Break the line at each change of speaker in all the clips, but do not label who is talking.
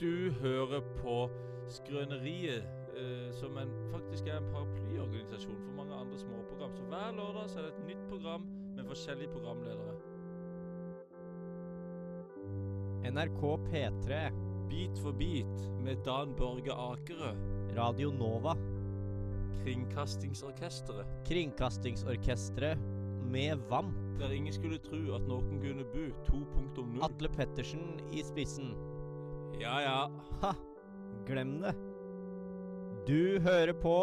Du hører på Skrøneriet, eh, som en, faktisk er en paraplyorganisasjon for mange andre småprogram. Så hver lørdag så er det et nytt program med forskjellige programledere.
NRK P3,
Bit for bit med Dan Børge Akerø,
Radio Nova,
Kringkastingsorkesteret.
Kringkastingsorkestret med VAMP,
Der ingen skulle tro at noen kunne bo
Mm.
2.0.
Atle Pettersen i spissen.
Ja ja.
Ha! Glem det. Du hører på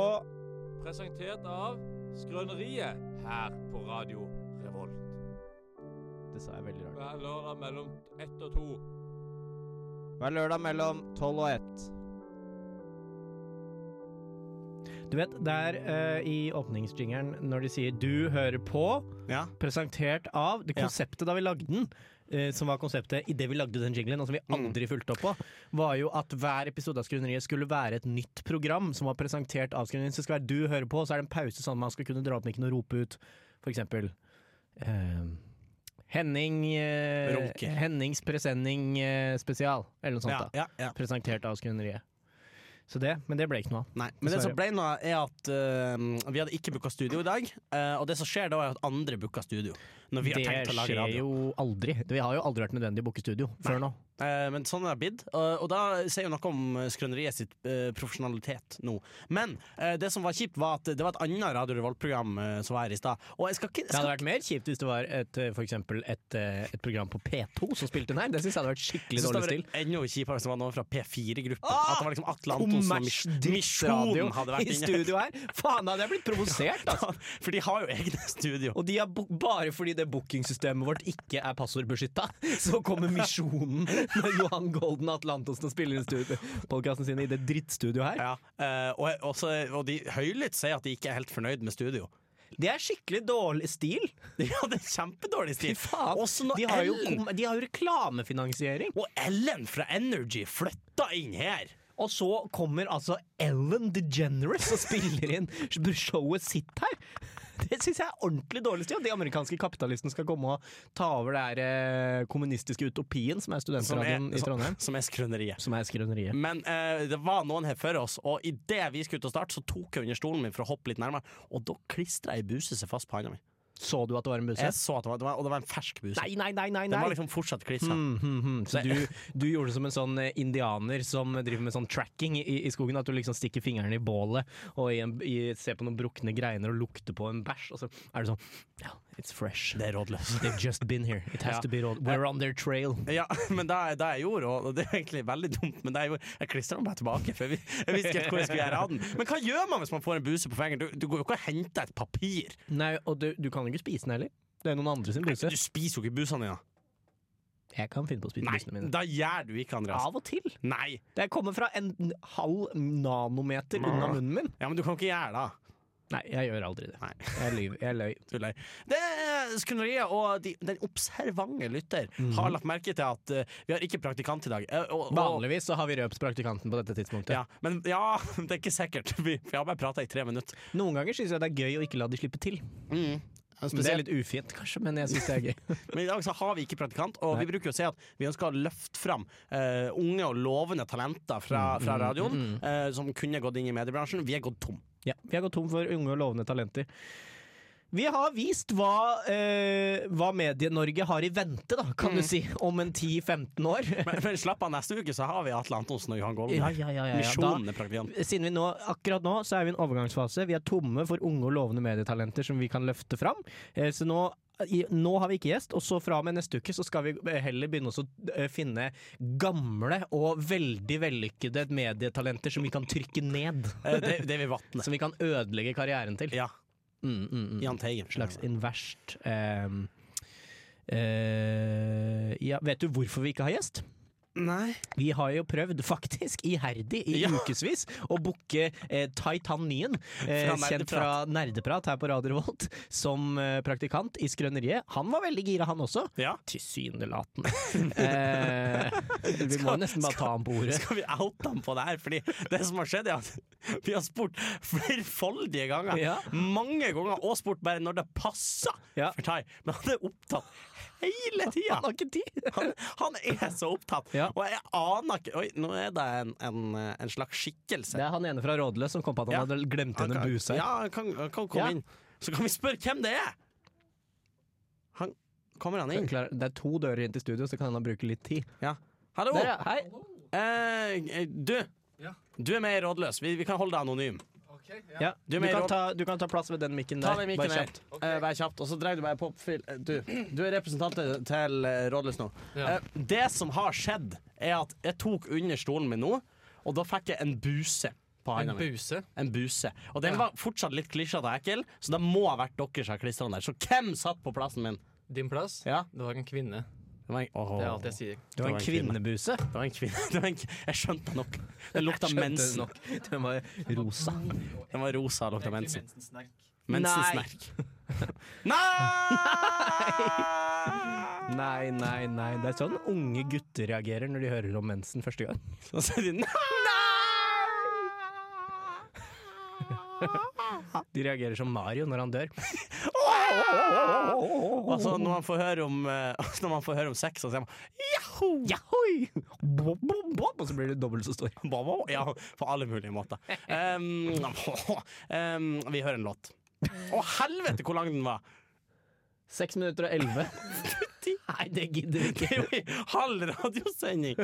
Presentert av Skrøneriet her på Radio Revolt.
Det sa jeg veldig rart.
Hver lørdag mellom ett og to.
Hver lørdag mellom tolv og ett.
Du vet, der eh, i åpningsjingeren når de sier 'du hører på',
Ja.
presentert av det
Ja.
konseptet da vi lagde den, eh, som var konseptet idet vi lagde den jinglen, og som vi
Mm.
aldri fulgte opp på, var jo at hver episode av Skrøneriet skulle være et nytt program som var presentert av Skrøneriet. Så det skal være 'du hører på', og så er det en pause sånn at man skal kunne dra opp mikken og rope ut for eksempel eh, Henning eh,
Ronke.
Hennings presenning eh, spesial, eller noe sånt.
Ja,
da
ja, ja.
Presentert av Skrøneriet. Så det, men det ble ikke noe av.
Nei, men det
Dessverre.
som ble nå, er at eh, vi hadde ikke booka studio i dag. eh, og det som skjer da, er at andre booker studio. Når vi har tenkt
det
å lage
skjer
radio.
jo aldri. Vi har jo aldri vært nødvendig å booke studio før nå.
Eh, men sånn er det blitt. og- og da sier jo noe om eh, Skrøneriet sitt eh, profesjonalitet nå. Men eh, det som var kjipt, var at det var et annet Radio Revolt-program eh, som var her i stad. Og jeg skal ikke jeg
Det hadde
skal,
vært mer kjipt hvis det var et, eh, for eksempel et, eh, et program på P2 som spilte den her. Det syns jeg hadde vært skikkelig
synes
dårlig
det
stil.
var enda kjipere som var noe fra P4-gruppa.
Ah!
At det var liksom Atle Antonsen og Mis- Misjonen
i
hadde vært inne.
studio her! Faen, da hadde jeg blitt provosert, altså.
For de har jo egne studio.
Og de har bo bare fordi det bookingsystemet vårt ikke er passordbeskytta, så kommer Misjonen med Johan Golden og Atle Antonsen og spiller inn podkasten sin i det drittstudioet her.
Ja, eh, og, og så- og de høylytt sier at de ikke er helt fornøyd med studio.
Det er skikkelig dårlig stil!
De hadde kjempedårlig
Fy
stil.
faen!
Også når
De har jo,
Ellen,
kom- de har jo reklamefinansiering.
og Ellen fra Energy flytta inn her.
Og så kommer altså Ellen DeGeneres og spiller inn showet sitt her! Det syns jeg er ordentlig dårlig stil. At de amerikanske kapitalistene skal komme og ta over det her eh, kommunistiske utopien som er studentradioen i
som,
Trondheim.
som er skrøneriet.
Som er skrøneriet.
Men eh, det var noen her før oss, og idet vi skulle ut og starte, så tok jeg under stolen min for å hoppe litt nærmere, og da klistra ei buse seg fast på handa mi.
Så du at det var en
Jeg
buse?
så at det var, det var, og det var en fersk buse.
Nei, nei, nei, nei!
Den
nei.
var liksom fortsatt klissa.
Mhm, mhm. Så du, du gjorde det som en sånn eh, indianer som driver med sånn tracking i, i skogen. At du liksom stikker fingrene i bålet og i en, i, ser på noen brukne greiner og lukter på en bæsj, og så er det sånn Ja, it's fresh.
Det er rådløst.
They've just been here. It has
Ja.
to be road. We're on their trail.
Ja, men det, det jeg gjorde, og det er egentlig veldig dumt, men det jeg gjorde Jeg klistra den bare tilbake, for jeg, vi- jeg visste ikke helt hvor jeg skulle gjøre av den. Men hva gjør man hvis man får en buse på fingeren? Du, du går jo ikke og henter et papir.
Nei, og du, du kan jo ikke spise den heller. Det er noen andre sin buse.
Du spiser jo ikke busene dine.
Jeg kan finne på å spise busene
Nei,
mine.
da gjør du ikke, Andreas.
Av og til.
Nei.
Det kommer fra en halv nanometer unna munnen min.
Ja, men du kan ikke gjøre det.
Nei, jeg gjør aldri det.
Nei.
Jeg lyver. Jeg løy.
Du er lei. Det er Skrøneriet og de, den observante lytter
Mhm.
har lagt merke til at eh, vi har ikke praktikant i dag. Eh, og- og-
Vanligvis så har vi røpt praktikanten på dette tidspunktet.
Ja, men ja, det er ikke sikkert. Vi, vi har bare prata i tre minutter. Mm.
Noen ganger syns jeg det er gøy å ikke la de slippe til. Men det er litt ufint, kanskje, men jeg syns det er gøy.
Men i dag så har vi ikke praktikant, og vi bruker jo å si at vi ønsker å løfte fram eh, unge og lovende talenter fra,
Mm.
fra radioen eh, som kunne gått inn i mediebransjen. Vi er gått tom.
Ja, vi har gått tom for unge og lovende talenter. Vi har vist hva, eh, hva Medie-Norge har i vente, da, kan du si, om en 10-15 år.
Men, men slapp av, neste uke så har vi Atle Antonsen og Johan Golden.
Ja,
her.
ja, ja, ja, ja.
Misjonen er praktikant.
Siden vi nå, akkurat nå så er vi i en overgangsfase. Vi er tomme for unge og lovende medietalenter som vi kan løfte fram. Eh, Så nå, i, nå har vi ikke gjest, og så fra og med neste uke så skal vi heller begynne å eh, finne gamle og veldig vellykkede medietalenter som vi kan trykke ned.
Eh, det, det er vi vatnet.
Som vi kan ødelegge karrieren til.
Ja.
Mm, mm, mm.
Jahn Teigen.
Slags inverst eh, eh, ja, Vet du hvorfor vi ikke har gjest?
Nei.
Vi har jo prøvd faktisk iherdig i
Ja.
ukevis å booke eh, Titanien, eh,
Fra
kjent
Nerdeprat.
fra Nerdeprat her på Radio Revolt, som eh, praktikant i Skrøneriet. Han var veldig gira, han også.
Ja.
Tilsynelatende. eh, vi må
Skal-
nesten bare ta ham på ordet.
Skal vi oute ham på det her? Fordi det som har skjedd, er at vi har spurt flerfoldige ganger.
Ja.
Mange ganger, og spurt bare når det passer
Ja.
for Tai. Men han er opptatt hele
Han
tida.
har ikke tid!
Han, han er så opptatt.
Ja. Ja.
Og jeg aner ikke Oi, nå er det en, en, en slags skikkelse.
Det er han ene fra Rådløs som kom på at han
Ja.
hadde glemt igjen en
kan,
buse.
ja, han kan, han kan komme
Ja.
inn. Så kan vi spørre hvem det er! Han, kommer han inn?
Klar- Det er to dører inn til studio, så kan han bruke litt tid.
Ja. Hallo!
Der, ja. Hei!
Eh, du!
Ja.
Du er med i Rådløs. Vi, vi kan holde deg anonym.
Ok,
Ja. Du,
Du er med i
kan
råd-
ta, du kan ta plass ved den mikken
Ta
der.
den mikken
Bare
her.
kjapt.
Ok.
Eh, vær kjapt. Og så dreier du bare på oppfyll. Eh, Du, du er representant til, til eh, Rådløs nå.
Ja.
Eh, det som har skjedd, er at jeg tok under stolen min nå, og da fikk jeg en buse på
En
handa mi.
buse.
En buse. Og den
Ja.
var fortsatt litt klissete og ekkel, så det må ha vært dere som har klistra den der. Så hvem satt på plassen min?
Din plass?
Ja.
Det var en kvinne.
Det var en, åh.
Det er alt jeg sier.
Du har en kvinnebuse.
Det var en kvinne. Det var en, k- jeg skjønte det nok. Det lukta
Skjønte
mensen.
nok. Den var rosa.
Den var rosa og lukta mensen.
mensensnerk.
Mensensnerk. Nei!
Nei, nei, nei. Det er sånn unge gutter reagerer når de hører om mensen første gang.
Så sier de nei!
De reagerer som Mario når han dør.
Altså, når man får høre om, eh, når man får høre om sex, så sier man jaho!
Jahoi! Bob, bob, bob, og så blir det dobbelt så stor.
Ba, ba, Ja, på alle mulige måter. Um, um, vi hører en låt. Å, helvete hvor lang den var!
Seks minutter og elleve. Nei, det gidder vi
Det
ikke.
er jo en halv radiosending!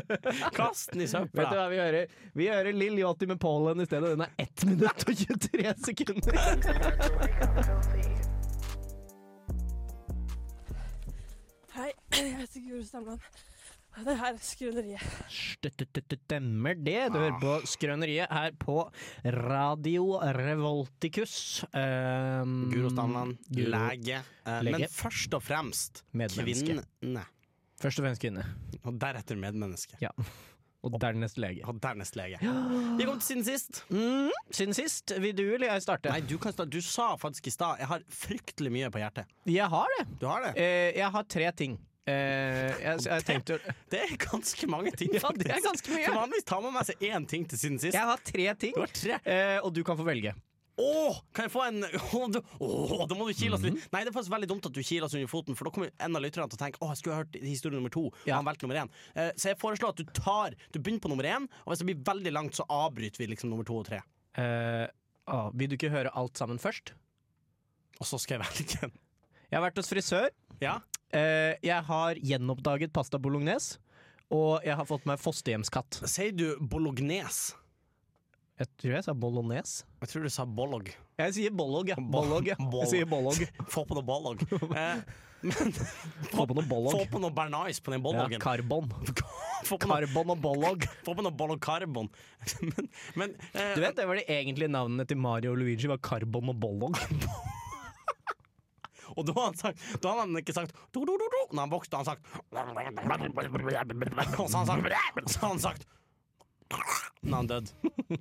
Kast den i
Vet du
søpla!
hva vi hører? Vi hører Lill Yachty med Pollen i stedet. Den er 1 minutt og 23 sekunder.
Hei, jeg heter Guro Stamland. Og det her er Skrøneriet.
Stemmer det. Du hører på Skrøneriet her på Radio Revolticus. Um,
Guro Stamland,
Guro.
lege. Eh, Men
Lege.
først og fremst
Medmenneske.
kvinne.
Først og fremst kvinne.
Og deretter medmenneske.
Ja. Og dernest lege.
Og dernest lege. Vi kom til siden sist.
Mm, siden sist. Vil du eller jeg starte?
Nei, du, kan sta- du sa faktisk i stad Jeg har fryktelig mye på hjertet.
Jeg har det.
Du har det?
Eh, jeg har tre ting. Eh, jeg, jeg tenkte
Det er ganske mange ting,
Ja, det er
faktisk.
ganske mye.
For vanligvis tar man med seg én ting til siden sist.
Jeg har tre ting,
Du har tre.
eh, og du kan få velge.
Åh, kan jeg få en Åh, du- åh, da må du kile oss litt. Nei, det er faktisk veldig dumt at du kiler oss under foten, for da kommer en av lytterne til å tenke Åh, jeg skulle ha hørt historie nummer to,
Ja.
og han valgte nummer én. Eh, så jeg foreslår at du tar Du begynner på nummer én, og hvis det blir veldig langt, så avbryter vi liksom nummer to og tre.
Eh, ah, vil du ikke høre alt sammen først?
Og så skal jeg velge en.
Jeg har vært hos frisør.
Ja?
Eh, jeg har gjenoppdaget pasta bolognese. Og jeg har fått meg fosterhjemskatt.
Sier du bolognese?
Jeg tror jeg sa bolognese.
Jeg tror du sa bollog.
Jeg sier bollog, ja.
Bo-
Bollog, ja.
boll-
Jeg sier bollog.
Få på noe bollog. Eh,
Få på noe
få
bollog.
på noe bernais på den
Ja,
bollogen.
karbon.
Få på noe,
Karbon og bollog.
få på noe bollog karbon. men men eh,
Du vet, det var de egentlige navnene til Mario og Luigi, var karbon og bollog.
Og da har han sagt Da har han ikke sagt do, do, do, do. Når han vokste, har han sagt Og så har han sagt Så har han sagt Når han død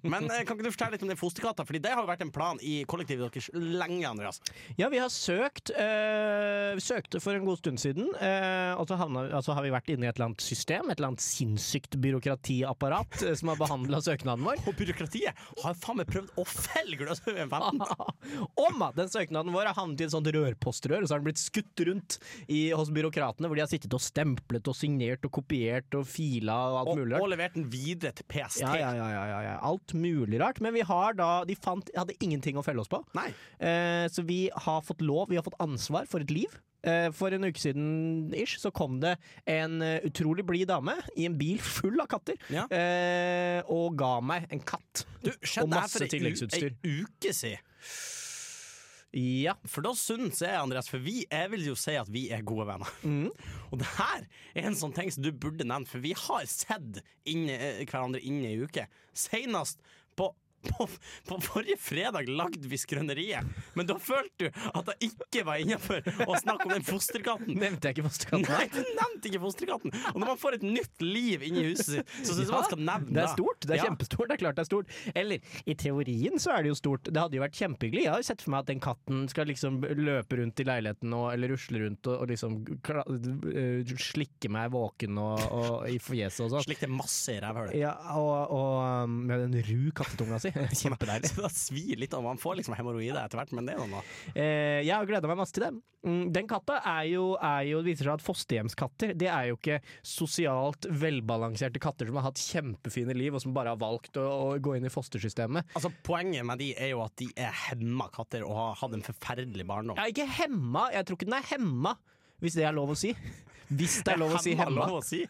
Men eh, kan ikke du fortelle litt om den fosterkatta Fordi det har jo vært en plan i kollektivet deres lenge, Andreas
Ja, vi har søkt. eh, vi søkte for en god stund siden. eh, og så havna, altså har vi vært inne i et eller annet system, et eller annet sinnssykt byråkratiapparat eh, som har behandla søknaden vår.
Og byråkratiet har faen meg prøvd å felge løs over en 15
Om at den søknaden vår har havnet i et sånt rørpostrør, og så har den blitt skutt rundt i, hos byråkratene, hvor de har sittet og stemplet og signert og kopiert og fila og alt
og,
mulig
og
rart.
levert den videre til PST
Ja, ja, ja, ja, ja, ja. Alt mulig rart. Men vi har da De fant, hadde ingenting å felle oss på.
Nei
Eh, så vi har fått lov, vi har fått ansvar for et liv. Eh, for en uke siden ish, så kom det en eh, utrolig blid dame i en bil full av katter
Ja.
eh, og ga meg en katt.
Du, skjedde
Og
det her for
masse
en u-
tilleggsutstyr.
En uke siden
Ja.
For da synes jeg, Andreas, for vi, jeg vil jo si at vi er gode venner.
Mm.
Og det her er en sånn ting som du burde nevne, for vi har sett inne, eh, hverandre innen ei uke. Senest på, på, på forrige fredag lagde vi Skrøneriet, men da følte du at det ikke var innafor å snakke om den fosterkatten.
Nevnte jeg ikke fosterkatten?
Nei, du nevnte ikke fosterkatten! Og når man får et nytt liv inni huset sitt, så syns jeg man skal nevne
Det er stort. Det er
Ja.
kjempestort. Det er klart det er stort. Eller, i teorien så er det jo stort. Det hadde jo vært kjempehyggelig. Jeg har jo sett for meg at den katten skal liksom løpe rundt i leiligheten og, eller rusle rundt og, og liksom kla, øh, slikke meg våken og, og i fjeset og sånn.
Slik det er masse i rævhølet.
Ja, og, og um, med den ru kattetunga si. Kjempedeilig.
Så da svir litt, og man får liksom hemoroider etter hvert, men det er noe.
Eh, jeg har gleda meg masse til den. Mm, den katta er jo, er jo, det viser seg at fosterhjemskatter Det er jo ikke sosialt velbalanserte katter som har hatt kjempefine liv, og som bare har valgt å, å gå inn i fostersystemet.
Altså, poenget med de er jo at de er hemma katter og har hatt en forferdelig barndom.
Ja, ikke hemma. Jeg tror ikke den er hemma, hvis det er lov å si. Hvis det er lov å si hemma.
lov å si.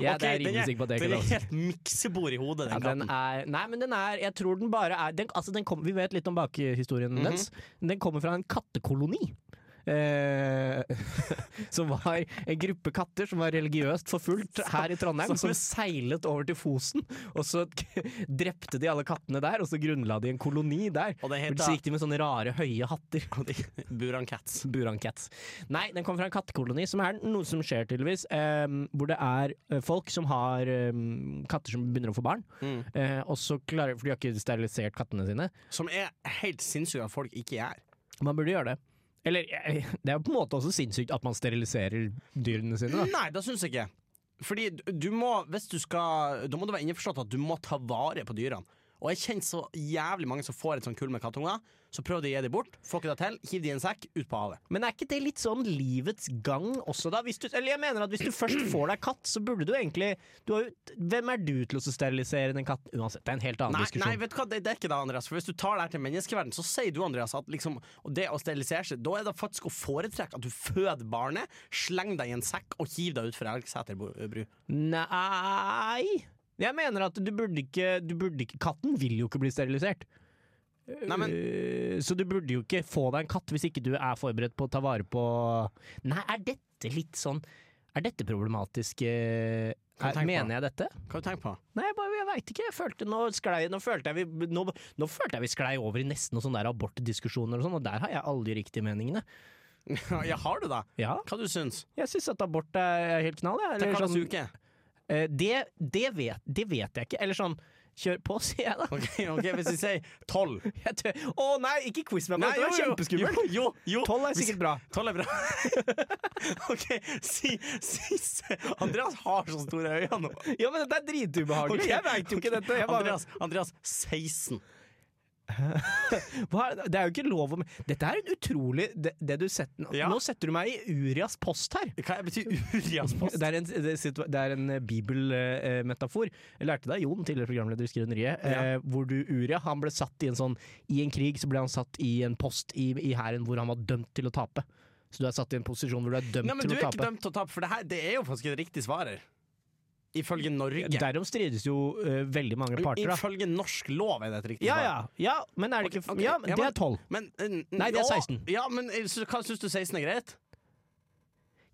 Ja,
Ok,
det er
den
rimelig sikker på at det ikke
den
er
er
lov. å si.
helt miksebord i hodet, den
Ja, den
katten.
er, nei, men den er Jeg tror den bare er den, altså den kom, Vi vet litt om bakhistorien
Mhm.
dens. Den kommer fra en kattekoloni. Eh, som var en gruppe katter som var religiøst forfulgt her i Trondheim. Som seilet over til Fosen, og så drepte de alle kattene der. Og så grunnla de en koloni der.
Og den
Så
heter
gikk de med sånne rare, høye hatter.
Buran Cats.
Burankett. Nei, den kom fra en kattekoloni, som er noe som skjer tydeligvis. eh, hvor det er eh, folk som har eh, katter som begynner å få barn.
Mm.
Eh, og så klarer, for de har ikke sterilisert kattene sine.
Som er helt sinnssykt at folk ikke gjør.
Man burde gjøre det. Eller eh, det er jo på en måte også sinnssykt at man steriliserer dyrene sine. Da.
Nei, det syns jeg ikke. Fordi du- du må, hvis du skal Da må du være innforstått at du må ta vare på dyrene. Og jeg kjenner så jævlig mange som får et sånt kull med kattunger. Så prøver de å gi dem bort, får ikke det til, hiv de i en sekk, ut på havet.
Men er ikke det litt sånn livets gang også, da? Hvis du, eller jeg mener at hvis du først får deg katt, så burde du egentlig du har, jo- Hvem er du til å sterilisere den katten? Uansett, det er en helt annen
Nei, nei,
diskusjon.
vet du hva, det, det er ikke det, Andreas. For hvis du tar det her til menneskeverden, så sier du, Andreas, at liksom, og det å sterilisere seg, da er det faktisk å foretrekke at du føder barnet, slenger deg i en sekk og hiver deg ut fra Elgseter eh, bru.
Nei Jeg mener at du burde ikke, du burde ikke Katten vil jo ikke bli sterilisert.
Nei, men
Eh, Så du burde jo ikke få deg en katt hvis ikke du er forberedt på å ta vare på Nei, er dette litt sånn Er dette problematisk? eh,
Kan du
Er,
tenke på
mener jeg dette?
hva har du tenkt på?
Nei, jeg, bare- jeg veit ikke. Jeg følte, nå, sklei, nå, følte jeg vi, nå, nå følte jeg vi sklei over i nesten noen sånne der abortdiskusjoner og sånn, og der har jeg alle de riktige meningene.
ja, har du det?
Ja,
Hva du syns
jeg syns at abort er helt knall, jeg.
Det
Eller
er
sånn-
sånn... uke.
Eh, det, det, vet, det vet jeg ikke. Eller sånn Kjør på, sier jeg da.
Ok, ok, Hvis vi sier tolv
Jeg tør- Å nei, ikke quiz med meg! Det var kjempeskummelt!
Jo, jo, jo.
Tolv er
Hvis-
sikkert bra.
Tolv er bra. OK, si, si se- Andreas har så store øyne nå.
Ja, men dette er dritubehagelig.
Ok,
Jeg veit jo ikke dette. Jeg bare,
Andreas, Andreas 16.
hva, er- det er jo ikke lov om Dette er en utrolig det, det du setter,
Ja.
Nå setter du meg i Urias post her.
Hva betyr Urias post?
Det er en, det er situ- det er en eh, bibelmetafor. Jeg lærte det av Jon, tidligere programleder i Skrøneriet. Eh, hvor du, Uria, han ble satt i en sånn I en krig så ble han satt i en post i i hæren hvor han var dømt til å tape. Så du er satt i en posisjon hvor du er dømt
Nei, men
til
du
å
er ikke
tape.
dømt til å tape, for det her det er jo faktisk et riktig svarer. Ifølge Norge.
Derom strides jo eh, veldig mange parter, da.
Ifølge norsk lov er det et riktig
Ja, ja,
svar.
ja, men er det ikke
Ok, ok,
Ja,
ja,
men det
men-
er tolv.
Men, eh, n-
Nei, det er
ja,
16.
Ja, men eh, så, hva syns du 16 er greit?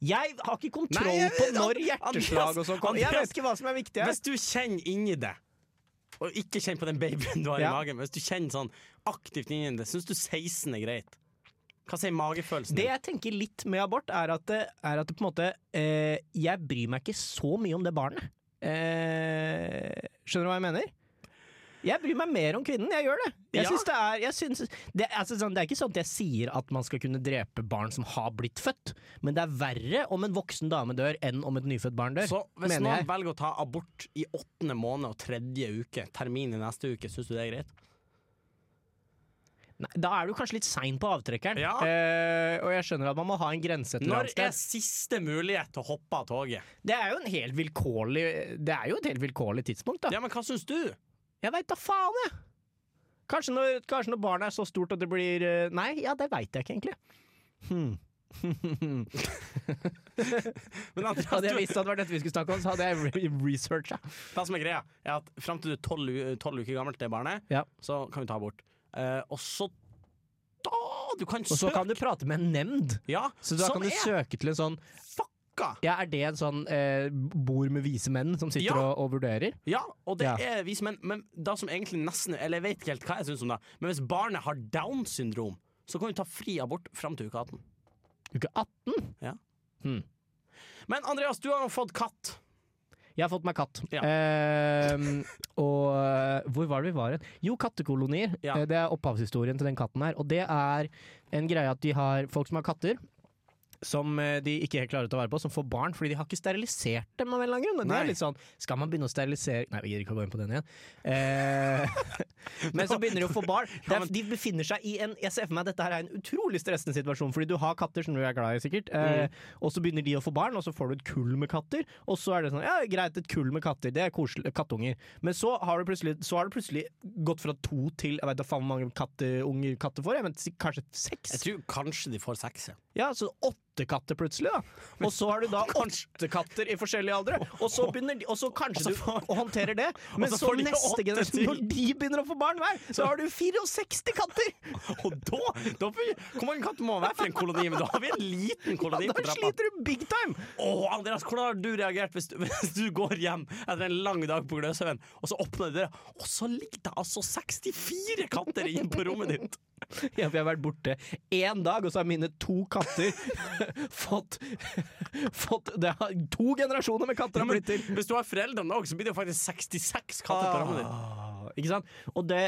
Jeg har ikke kontroll
Nei, jeg-
på når
Andreas-
hjerteslag og sånn kommer. Jeg
Andreas-
vet ikke hva som er viktig her.
Hvis du kjenner inni det, og ikke kjenner på den babyen du har
Ja.
i magen, hvis du kjenner sånn aktivt inni det, syns du 16 er greit? Hva sier magefølelsen?
Det jeg tenker litt med abort, er at, det- er at det på en måte eh, Jeg bryr meg ikke så mye om det barnet. Eh, skjønner du hva jeg mener? Jeg bryr meg mer om kvinnen, jeg gjør det. Jeg
Ja.
synes det, er, jeg synes, det, er altså, sånn, det er ikke sånn at jeg sier at man skal kunne drepe barn som har blitt født, men det er verre om en voksen dame dør enn om et nyfødt barn dør.
Så hvis
mener
noen
jeg.
velger å ta abort i åttende måned og tredje uke, termin i neste uke, syns du det er greit?
Nei, da er du kanskje litt sein på avtrekkeren,
Ja.
eh, og jeg skjønner at man må ha en grense et eller
Når
annet
er
sted.
siste mulighet til å hoppe av toget?
Det er jo en helt vilkårlig Det er jo et helt vilkårlig tidspunkt, da.
Ja, men hva syns du?
Jeg veit da faen, jeg! Kanskje når, kanskje når barnet er så stort at det blir eh, Nei, ja, det veit jeg ikke, egentlig. Hmm.
Men Andreas,
hadde jeg
du,
visst at det var dette vi skulle snakke om, så hadde jeg re researcha.
det som er greia, er at fram til du er tolv uker gammelt, det barnet,
Ja.
så kan vi ta abort. Eh, og så da, Du kan
Og så
søke!
kan du prate med en nemnd.
ja,
Så da
som
kan du
er
søke til en sånn
fucka!
Ja, er det en sånn eh, bord med vise menn som sitter
Ja.
og, og vurderer?
Ja, og det
Ja.
er vi som menn. Men det som egentlig nesten Eller jeg vet ikke helt hva jeg syns om det, men hvis barnet har Downs syndrom, så kan du ta fri abort fram til uke 18.
Uke 18?
Men Andreas, du har jo fått katt.
Jeg har fått meg katt.
Ja.
Ehm, og eh, hvor var det vi var hen? Jo, kattekolonier.
Ja.
Eh, Det er opphavshistorien til den katten her. Og det er en greie at de har folk som har katter. som eh, de ikke helt klarer å ta vare på, som får barn fordi de har ikke sterilisert dem. av en eller annen grunn. Og Det
Nei.
er litt sånn, Skal man begynne å sterilisere Nei, vi gidder ikke å gå inn på den igjen. Eh, men så begynner de å få barn. Det er, de befinner seg i en Jeg ser for meg at dette her er en utrolig stressende situasjon, fordi du har katter som du er glad i, sikkert. Eh, Og så begynner de å få barn, og så får du et kull med katter. Og så er det sånn Ja, greit, et kull med katter. Det er koselig. Kattunger. Men så har du plutselig, så har du plutselig gått fra to til Jeg vet da faen hvor mange kattunger katter får, jeg, men si- kanskje seks?
Jeg tror kanskje de får seks. Ja.
Ja, så åtte katter plutselig, da. Og så har du da åtte katter i forskjellige aldre. Og så begynner de, og så kanskje du håndterer det, men
så
så
får de åtte
neste generasjon,
til.
når de begynner å få barn hver, så har du 64 katter!
Og da, da får vi, Hvor mange katter må det være for en koloni? Men da har vi en liten
Ja,
koloni
da
på trappa.
sliter du big time!
Åh, Andreas, hvordan har du reagert hvis du, hvis du går hjem etter en lang dag på Gløshaugen, og så åpner du døra, og så ligger det altså 64 katter inne på rommet ditt?
Ja, for jeg har vært borte én dag, og så har mine to katter fått, fått det har, To generasjoner med katter har blitt til!
Hvis du har foreldrene òg, så blir det jo faktisk 66 katter på rommet ditt.
Ah, Ikke sant? Og det,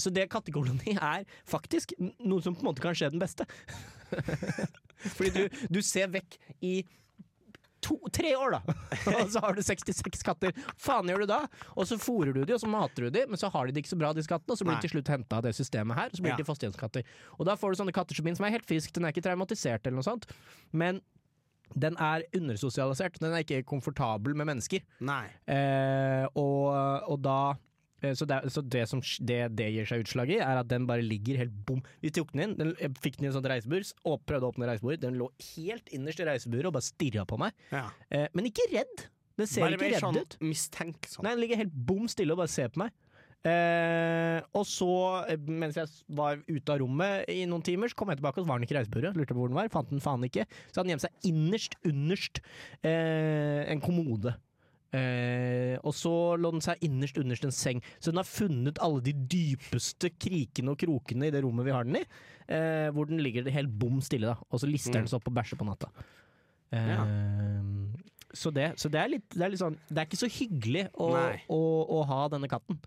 så det kattekoloni er faktisk n- noe som på en måte kan skje den beste. Fordi du, du ser vekk i to, tre år, da. Og så har du 66 katter. Faen gjør du da? Og så fôrer du de, og så mater du de, men så har de det ikke så bra, disse kattene. Og så blir
Nei.
de til slutt henta av det systemet her, og så blir
Ja.
de fosterhjemskatter. Og da får du sånne katter som min, som er helt frisk, den er ikke traumatisert eller noe sånt. Men den er undersosialisert, den er ikke komfortabel med mennesker.
Ah, Nei.
Eh, og, og da eh, så det, er- så det som sk- det, det gir seg utslag i, er at den bare ligger helt bom. Vi tok den inn, den, jeg fikk den i et sånt reisebur, s- og prøvde å åpne reisebordet. Den lå helt innerst i reiseburet og bare stirra på meg.
Ja.
Eh, men ikke redd! Den ser
Bare
ikke
mer
redd
sånn
ut.
mistenksom.
Nei, den ligger helt bom stille og bare ser på meg. Eh, og så, eh, mens jeg s- var ute av rommet i noen timer, så kom jeg tilbake, og så var den ikke i reiseburet. Lurte på hvor den var, fant den faen ikke. Så hadde den gjemt seg innerst, underst eh, en kommode. Eh, og så lå den seg innerst, underst en seng. Så den har funnet alle de dypeste krikene og krokene i det rommet vi har den i. Eh, hvor den ligger helt bom stille, da. Og så lister den seg opp og bæsjer på natta. Eh,
Ja.
så det, så det, er litt, det er litt sånn Det er ikke så hyggelig å,
Nei.
å, å ha denne katten.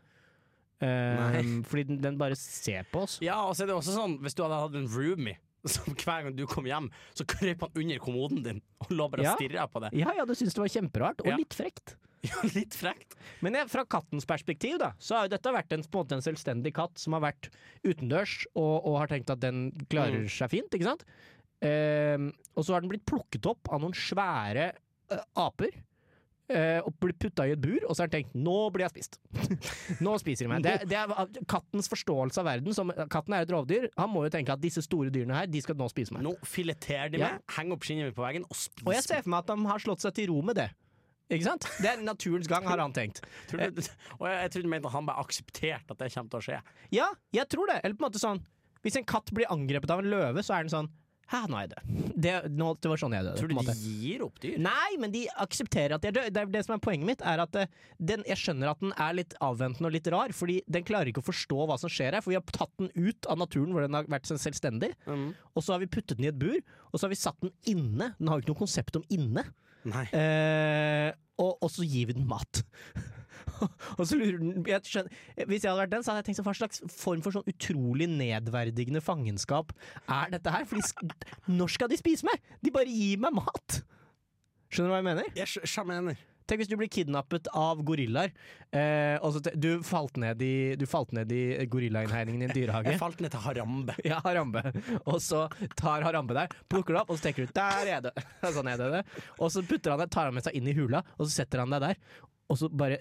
Um, fordi den, den bare ser på oss.
Ja, og så er det også sånn, hvis du hadde hatt en roomie som hver gang du kom hjem, så krøp han under kommoden din og lå bare og
Ja.
stirra på deg.
Ja, ja, du syns det var kjemperart, og
Ja.
litt frekt.
Ja, litt frekt.
Men jeg, fra kattens perspektiv, da, så har jo dette vært en, på en måte en selvstendig katt som har vært utendørs og, og har tenkt at den klarer seg fint, ikke sant? Ehm, og så har den blitt plukket opp av noen svære eh, aper. eh, og blitt putta i et bur, og så har den tenkt 'nå blir jeg spist'. nå spiser de meg. Det, det er kattens forståelse av verden. Som, katten er et rovdyr. Han må jo tenke at disse store dyrene her, de skal nå spise meg.
Nå fileterer de
Ja.
meg, henger opp skinnet mitt på veggen og spiser
Og jeg ser for meg at han har slått seg til ro med det. Ikke sant? Det er naturens gang, har han tenkt.
Tror du, og jeg, jeg trodde du mente at han bare aksepterte at det kommer til å skje.
Ja, jeg tror det. Eller på en måte sånn Hvis en katt blir angrepet av en løve, så er den sånn Hæ, nå er jeg død. Det, nå, det var sånn jeg døde.
Tror
på en
du de
måte.
gir opp dyr?
Nei, men de aksepterer at de er døde. Det, er det som er poenget mitt, er at eh, den, jeg skjønner at den er litt avventende og litt rar, fordi den klarer ikke å forstå hva som skjer her. For vi har tatt den ut av naturen hvor den har vært selvstendig,
Mhm.
og så har vi puttet den i et bur, og så har vi satt den inne. Den har jo ikke noe konsept om inne.
Nei.
Eh, og, og så gir vi den mat. og så lurer den jeg skjønner, Hvis jeg hadde vært den, så hadde jeg tenkt sånn, hva slags form for sånn utrolig nedverdigende fangenskap er dette her? Fordi sk- når skal de spise meg? De bare gir meg mat! Skjønner du hva jeg mener?
Jeg skj- skjønner hva jeg mener.
Tenk hvis du blir kidnappet av gorillaer. Eh, og så te- du falt ned i, du falt ned i gorillainnhegningen i en dyrehage.
Jeg falt ned til Harambe.
Ja, Harambe. Og så tar Harambe deg, plukker deg opp, og så tenker du 'der er det'. Sånn er det det. Og så putter han deg, tar han med seg inn i hula, og så setter han deg der. Og så bare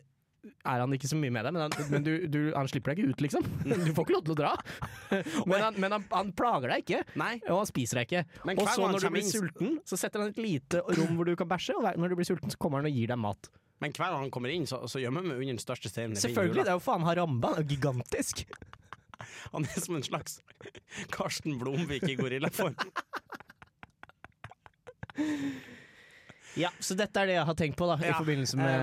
er han ikke så mye med deg, men, han, men du, du, han slipper deg ikke ut, liksom. Du får ikke lov til å dra. Men han, men han, han plager deg ikke.
Nei.
Og han spiser deg ikke.
Men
Og så
hver gang han
når du
kommer
blir
inn-
sulten, så setter han et lite rom hvor du kan bæsje, og hver- når du blir sulten, så kommer han og gir deg mat.
Men hver gang han kommer inn, så, så gjemmer han meg under den største steinen. jeg finner i
Selvfølgelig,
jula.
det er jo faen Harambe, han er jo gigantisk.
Han er som en slags Karsten Blomvik i gorillaform.
Ja, så dette er det jeg har tenkt på da i
Ja,
forbindelse med,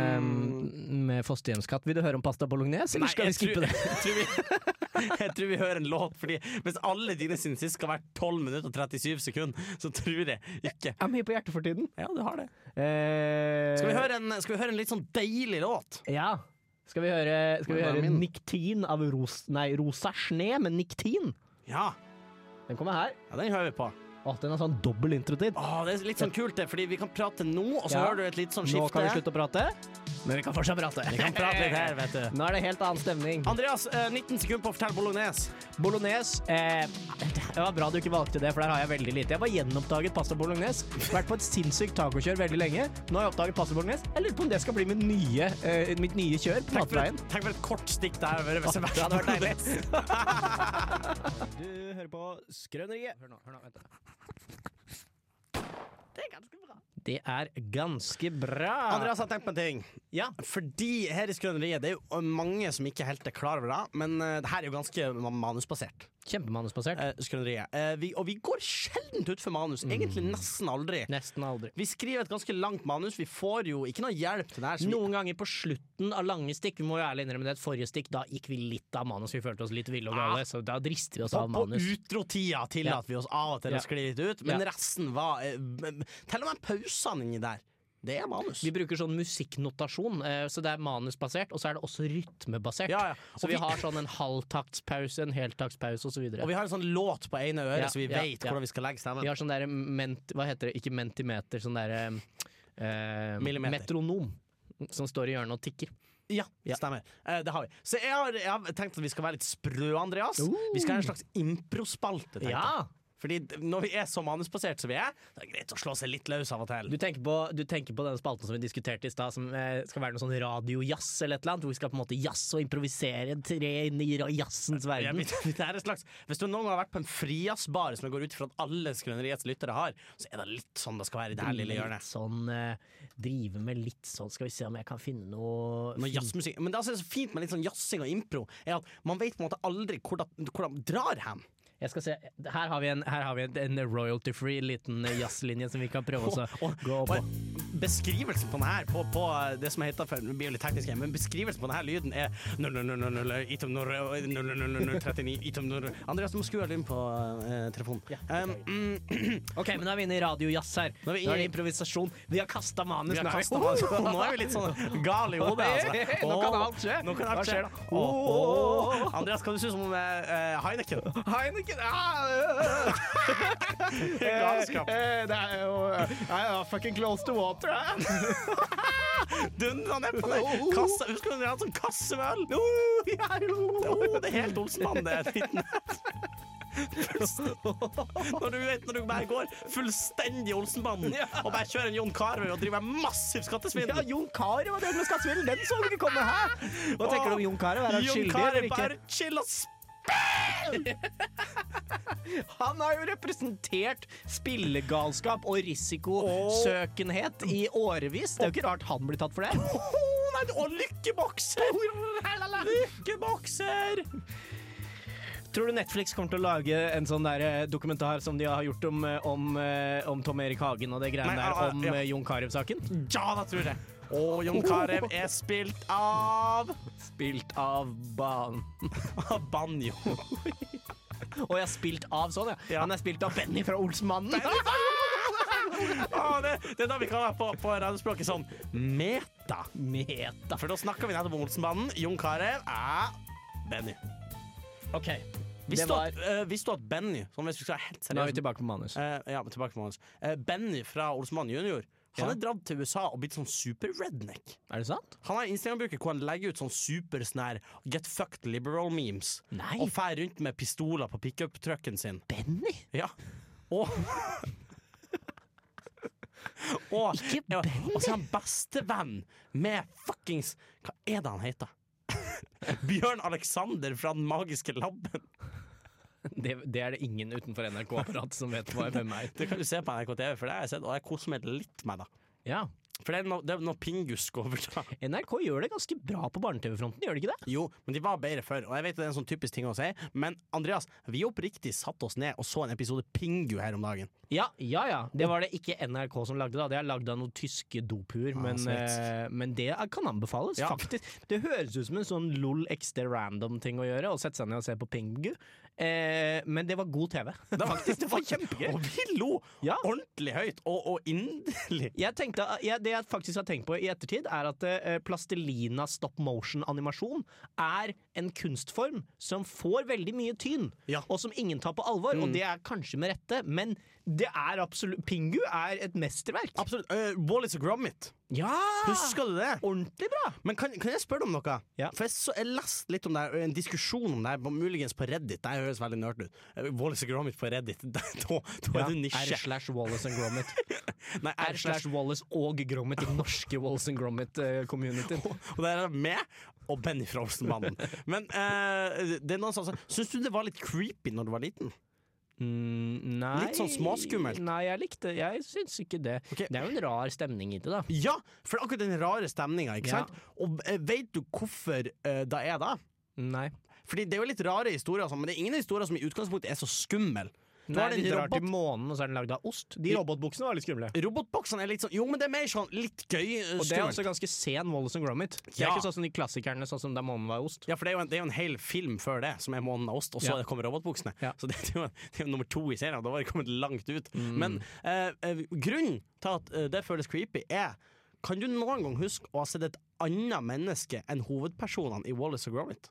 med fosterhjemskatt. Vil du høre om pasta bolognese, eller skal vi skippe det?
Jeg tror, vi, jeg tror vi hører en låt, Fordi hvis alle dine sin sist skal være 12 minutter og 37 sekunder, så tror jeg ikke
Jeg er mye på hjertet for tiden.
Ja, du har det.
Eh,
Skal vi høre en, skal vi høre en litt sånn deilig låt?
Ja. Skal vi høre, skal vi
Hva er
høre
min?
Niktin av Ros... Nei, Rosa Sne med Niktin.
Ja,
Den kommer her.
ja den hører vi på.
Å, den er sånn dobbel introtid.
Åh, det er litt sånn kult, det, fordi vi kan prate nå, og så
Ja.
hører du et litt sånn
Nå
skifte.
kan vi slutte å prate, men vi kan fortsatt prate.
Vi kan prate litt her, vet du.
Nå er det helt annen stemning.
Andreas, eh, 19 sekunder på å fortelle bolognese.
Bolognese eh, Det var bra du ikke valgte det, for der har jeg veldig lite. Jeg var gjenoppdaget pasta bolognese. Vært på et sinnssykt tacokjør veldig lenge. Nå har jeg oppdaget pasta bolognese. Jeg lurer på om det skal bli mitt nye, eh, mitt nye kjør på
Tenk for,
matveien.
et, tenk for et kort stikk der. Hvis jeg
det hadde vært
deilig.
Du hører på Skrøneriet. Hør nå, hør nå, vent. da. Det er ganske bra.
Andreas, jeg har tenkt på en ting.
Ja.
Fordi her i Skrøneriet, det er jo mange som ikke helt er klar over det, men eh, det her er jo ganske ma- manusbasert.
Kjempemanusbasert.
eh, Skrøneriet. Eh, vi, og vi går sjelden ut for manus. Egentlig
Mm.
nesten aldri.
Nesten aldri.
Vi skriver et ganske langt manus. Vi får jo ikke noe hjelp til det her. så vi-
Noen ganger på slutten av lange stikk, vi må jo ærlig innrømme det, at forrige stikk, da gikk vi litt av manus, vi følte oss litt ville og gale, så da drister vi oss
Ah. På,
av
på
manus.
utrotida tillater vi oss av og til
Ja.
å skli litt ut, men
Ja.
resten var eh, m- Til og med pausene inni der. Det er manus.
Vi bruker sånn musikknotasjon, eh, så det er manusbasert, og så er det også rytmebasert.
Ja, ja.
Så
Og
vi
vi-
har sånn en halvtaktspause, en heltaktspause osv.
Og vi har en sånn låt på ene øret,
Ja,
så vi
ja,
vet
ja.
hvordan vi skal legge stemmen.
Vi har sånn derre ment... Hva heter det? Ikke mentimeter, sånn derre eh,
Millimeter.
Metronom. Som står i hjørnet og tikker.
Ja, stemmer. Eh, det har vi. Så jeg har, jeg har tenkt at vi skal være litt sprø, Andreas.
Uh.
Vi skal ha en slags improspalte. tenkte jeg. Fordi d- når vi er så manusbasert som vi er, så er det greit å slå seg litt løs av og til.
Du tenker, på, du tenker på denne spalten som vi diskuterte i stad, som eh, skal være noe sånn radiojazz eller et eller annet? Hvor vi skal på en måte jazze og improvisere, tre inn i ra- jazzens
Ja,
verden?
men det er et slags, hvis du noen gang har vært på en frijazzbar, som jeg går ut ifra at alle Skrøneriets lyttere har, så er det litt sånn det skal være i det her lille hjørnet.
Litt sånn eh, Drive med litt sånn, skal vi se om jeg kan finne noe
Noe jazzmusikk. Men det som er så fint med litt sånn jazzing og impro, er at man vet på en måte aldri hvor det- hvor de drar hen.
Jeg skal se, Her har vi en, her har vi en, en royalty-free liten eh, jazzlinje som vi kan prøve oss å
Og,
gå
og
på.
beskrivelsen på den her på, på det som heter for, det blir jo litt teknisk, her, men beskrivelsen på den her lyden er 0000, item 000039, item 00. Andreas, du må skru av lyden på eh, telefonen.
Ja,
Um, mm,
Ok, men da er vi inne i radiojazz her.
Nå
Nå
er
er,
vi
det
inne-
improvisasjon. Vi har kasta manus.
vi har
nå er vi-
kastet meg, altså. Nå er vi litt sånn gal i hodet. Altså.
Nå kan
Åh,
alt skje.
Nå kan alt
Hva skjer
skje.
da?
Åh, åh, åh. Andreas, hva du synes om eh, eh, Heineken?
Heineken ah,
Galskap.
Eh, Det er jo I'm fucking close to water. eh.
dundra ned på deg. Kasse, husker du vi hadde sånn kasse med øl? Oh, ja, jo. oh, det er helt Olsenmannen, det. er liten. Når du vet når du bare går fullstendig Olsenmannen og bare kjører en Jon Carvey og driver med massiv
Ja,
skattesvindel.
Jon Carew var det med skattesvindel! Den så du ikke komme her! Hva
Åh,
tenker du om Jon Carew? Er han
Jon
skyldig eller
Carvey
ikke?
bare chill og spill.
Han har jo representert spillegalskap og risikosøkenhet i årevis. Det er jo ikke rart han blir tatt for det. Oh,
Åh, Oh, nei, og lykkebokser! Lykkebokser!
Tror du Netflix kommer til å lage en sånn der eh, dokumentar som de har gjort om, eh, om, eh, om Tom Erik Hagen og det
Nei,
greiene der,
ah, ah,
om
ja. Mm.
eh, Jon Carew-saken?
Ja, det tror jeg. Og Jon Carew er spilt av
Spilt av banen.
Av Banjo.
Og jeg har spilt av sånn, ja.
Ja.
Han er spilt av Benny fra Olsmannen.
Ah, det, det er da vi kaller på, på radiospråket sånn meta.
Meta.
For da snakker vi nettopp om Olsenbanden. Jon Carew er Benny.
OK. Det
Visste du
var
at, eh, visste du at Benny sånn hvis vi skal være helt
Nå er
seriøse
vi tilbake på manus.
Eh, ja, men tilbake til Magnus. Eh, Benny fra Olsenmannen junior Han
Ja.
er dratt til USA og blitt sånn super-redneck.
Er det sant?
Han har en Instagram-bruker hvor han legger ut sånn super sånn her get fucked liberal-memes.
Nei.
Og fer rundt med pistoler på pickup-trucken sin.
Benny?
Ja. Og Og
Ikke
ja,
Benny.
og så er han bestevenn med fuckings Hva er det han heter? Bjørn Alexander fra Den magiske labben.
Det, det er det ingen utenfor NRK-apparatet som vet hva hvem er.
Det kan du se på NRK TV, for det har jeg sett, og jeg koser meg litt med det.
Ja.
For det er noe, det er noe pingusk over det.
NRK gjør det ganske bra på barne-TV-fronten, gjør de ikke det?
Jo, men de var bedre før, og jeg vet det er en sånn typisk ting å si, men Andreas, vi oppriktig satte oss ned og så en episode Pingu her om dagen.
Ja, ja, ja. Det var det ikke NRK som lagde, da. Det er lagd av noen tyske dopuer. men,
smitt.
eh, men det er- kan anbefales,
Ja.
faktisk. Det høres ut som en sånn lol ekstra random-ting å gjøre, å sette seg ned og se på Pingu. Eh, men det var god TV.
Det var,
Faktisk, det var kjempegøy.
Og vi lo
Ja.
ordentlig høyt og, og inderlig.
Jeg tenkte, ja, det det jeg faktisk har tenkt på i ettertid, er at eh, plastelina stop motion-animasjon er en kunstform som får veldig mye tyn,
Ja.
og som ingen tar på alvor. Og det er kanskje med rette, men det er absolutt Pingu er et mesterverk.
Absolutt. Uh, Wallis og Gromit.
ja!
Husker du det?
Ordentlig bra!
Men kan, kan jeg spørre deg om noe?
Ja.
For jeg, så, jeg leste litt om det, her, en diskusjon om det, her, muligens på Reddit. Det her høres veldig nerd ut. Eh, Wallis og Gromit på Reddit, da, da, da er
R
du nisje.
slash Wallace and Gromit.
Nei,
R slash Wallace og Gromit, den norske Wallace and eh, Gromit-communityen.
Og der er meg og Benny fra Olsenbanden. Men eh, det er noen som sier Syns du det var litt creepy når du var liten?
Mm, nei
Litt sånn småskummelt.
Nei, jeg likte Jeg syns ikke det.
Ok.
Det er jo en rar stemning i det, da.
Ja, for det er akkurat den rare stemninga, ikke
Ja.
sant? Og eh, vet du hvorfor eh, det er det?
Nei.
Fordi det er jo litt rare historier, og sånn, men det er ingen historier som i utgangspunktet er så skummel. Du
Nei,
har
de
den
drar
robot-
til månen, og så er den lagd av ost. De robotbuksene var litt skumle.
Robotboksene er litt sånn Jo, men det er mer sånn litt gøy. eh,
Og det er altså-
skummelt.
også ganske sen Wallace and Gromit. Det er
Ja.
ikke sånn som de klassikerne, sånn som der månen var ost.
Ja, for det er, jo en, det er jo en hel film før det, som er 'Månen av ost', og så
Ja.
kommer robotbuksene.
Ja.
Så det er, jo, det er jo nummer to i serien, og da var det kommet langt ut.
Mm.
Men eh, eh, grunnen til at eh, det føles creepy, er Kan du noen gang huske å ha sett et annet menneske enn hovedpersonene i Wallace og Gromit?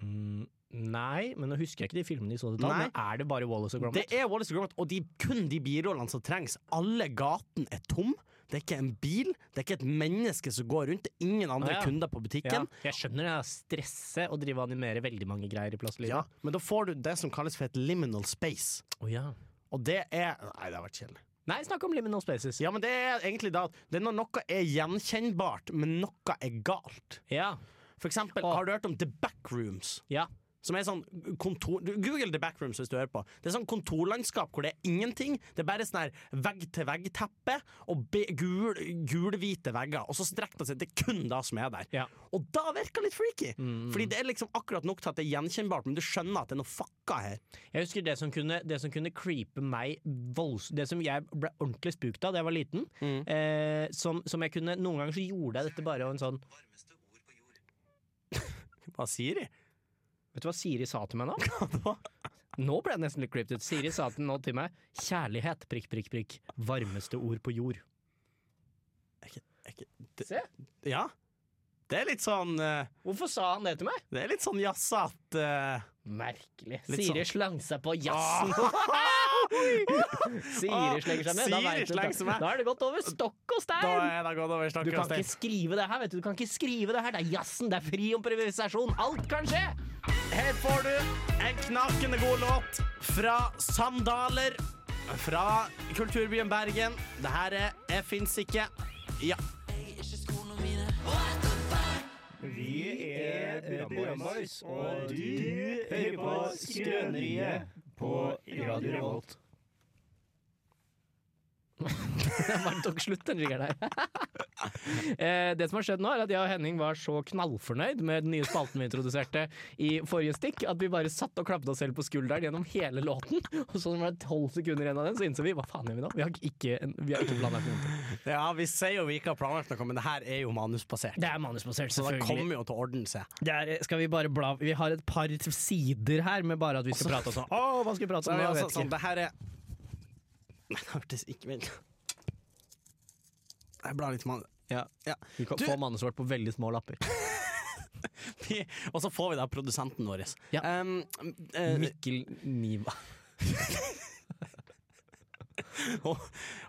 Mm, nei, men nå husker jeg ikke de filmene de så det da.
Nei.
Men er det bare Wallace og
Det
Gromit?
er Wallace og Gromit, og de, kun de birollene som trengs. Alle gatene er tom. Det er ikke en bil, det er ikke et menneske som går rundt, det er ingen andre
Ah, ja.
kunder på
Ja.
butikken.
Jeg skjønner det er stresse å drive og animere veldig mange greier i
Ja,
plastlivet.
men da får du det som kalles for et liminal space.
Å ja.
Og det er Nei, det har vært kjedelig.
Nei, snakk om Liminal Spaces.
Ja, men det er egentlig da at det er når noe er gjenkjennbart, men noe er galt.
Ja.
For eksempel,
Åh.
har du hørt om The Backrooms?
ja.
Som er sånn kontor... du- Google The Backrooms hvis du hører på. Det er sånn kontorlandskap hvor det er ingenting. Det er bare sånn her vegg-til-vegg-teppe og be- gul- gulhvite vegger. Og så strekker det seg. Det er kun det som er der.
Ja. Mm.
Og da virker det litt freaky. Fordi det er liksom akkurat nok til at det er gjenkjennbart, men du skjønner at det er noe fucka her.
Jeg husker det som kunne, det som kunne creepe meg volds... Det som jeg ble ordentlig spukt av da jeg var liten.
Mm.
Eh, som, som jeg kunne Noen ganger så gjorde jeg dette bare av en sånn
Hva sier de?
Vet du hva Siri sa til meg nå? Nå ble jeg nesten litt creeped ut. Siri sa til, nå til meg 'kjærlighet', prikk, prikk, prikk. Varmeste ord på jord. Se.
Ja. Det er litt sånn eh,
Hvorfor sa han det til meg?
Det er litt sånn jazzete eh,
Merkelig.
Litt
Siri
sånn- Ah!
slang seg på jazzen. Siri slenger seg ned. Da,
Siri
vet du,
slenger seg
da,
ned.
da er det gått over stokk og
Da
stein!
er det gått over
Du
snakker
kan ikke skrive det her, vet du. Du kan ikke skrive det her. Det er jazzen, det er fri improvisasjon. Alt kan skje!
Her får du en knakende god låt fra Sandaler. Fra kulturbyen Bergen. Det her er Jeg fins ikke. Ja.
og du hører på Skrøneriet på Radio Revolt.
Den bare tok slutt, den riggeren her. Eh, det som har skjedd nå, er at jeg og Henning var så knallfornøyd med den nye spalten vi introduserte i forrige stikk, at vi bare satt og klappet oss selv på skulderen gjennom hele låten. Og så når det var tolv sekunder igjen av den, så innså vi hva faen gjør vi nå? Vi har ikke, en, vi har ikke planlagt noe.
ja, vi sier jo vi ikke har planlagt noe, men det her er jo manusbasert.
Det er manusbasert,
Så det
selvfølgelig.
kommer jo til å ordne seg.
Det er, skal vi bare bla Vi har et par sider her med bare at vi skal prate og sånn. Å, hva skal vi prate om?
Så vi
Jeg
altså,
vet
sånn,
ikke.
det her er Nei, det hørtes ikke men- Jeg blar litt manus.
Ja.
Ja.
Vi kan
Du-
få manuset vårt på veldig små lapper.
Vi- Og så får vi da produsenten vår.
Ja.
Um, eh,
Mikkel Niva.
og,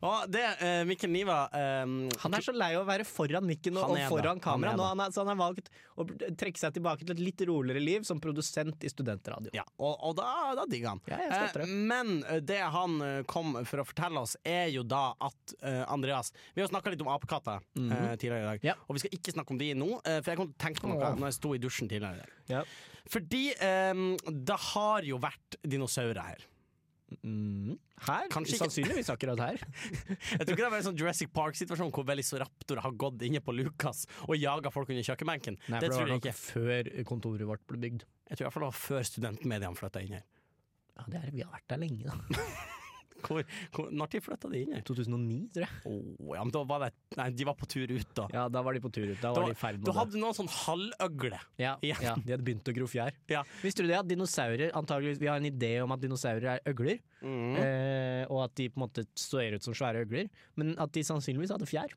og det eh, Mikkel Niva um,
Han er så lei av å være foran mikken og,
Han er
og foran
det. Han er
kamera. Nå,
det.
han er, så han har valgt å trekke seg tilbake til et litt roligere liv som produsent i studentradio.
ja, og, og da, da digger han.
Ja, jeg støtter det.
Eh, men eh, det han eh, kom for å fortelle oss, er jo da at eh, Andreas Vi har snakka litt om apekatter eh, tidligere i dag,
Mhm. Ja.
og vi skal ikke snakke om de nå. eh, for jeg kom til å tenke på noe
Åh.
når jeg sto i dusjen tidligere i dag.
Ja.
Fordi eh, det har jo vært dinosaurer her.
Mm. Her?
Kanskje ikke-
Sannsynligvis akkurat her.
Jeg tror ikke det var en sånn Jurassic Park-situasjon hvor velociraptorer har gått inne på Lucas og jaga folk under kjøkkenbenken.
Nei, for
det
det
tror
var
jeg
nok
ikke.
før kontoret vårt ble bygd.
Jeg tror i hvert fall det var før studentmediene flytta inn her.
Ja, det er, Vi har vært der lenge, da.
Hvor, hvor, når de flytta de inn her?
2009, tror jeg.
Å, ja, men da var det, nei, de var på tur ut, da.
Ja, da var de på tur ut. Da
Da-
var de i ferd med
Da
å dø.
hadde noen sånn halvøgle.
Ja,
Ja.
ja. de hadde begynt å gro fjær.
Ja.
Visste du det at dinosaurer antageligvis, Vi har en idé om at dinosaurer er øgler,
Mm.
eh, og at de på en måte ser ut som svære øgler, men at de sannsynligvis hadde fjær.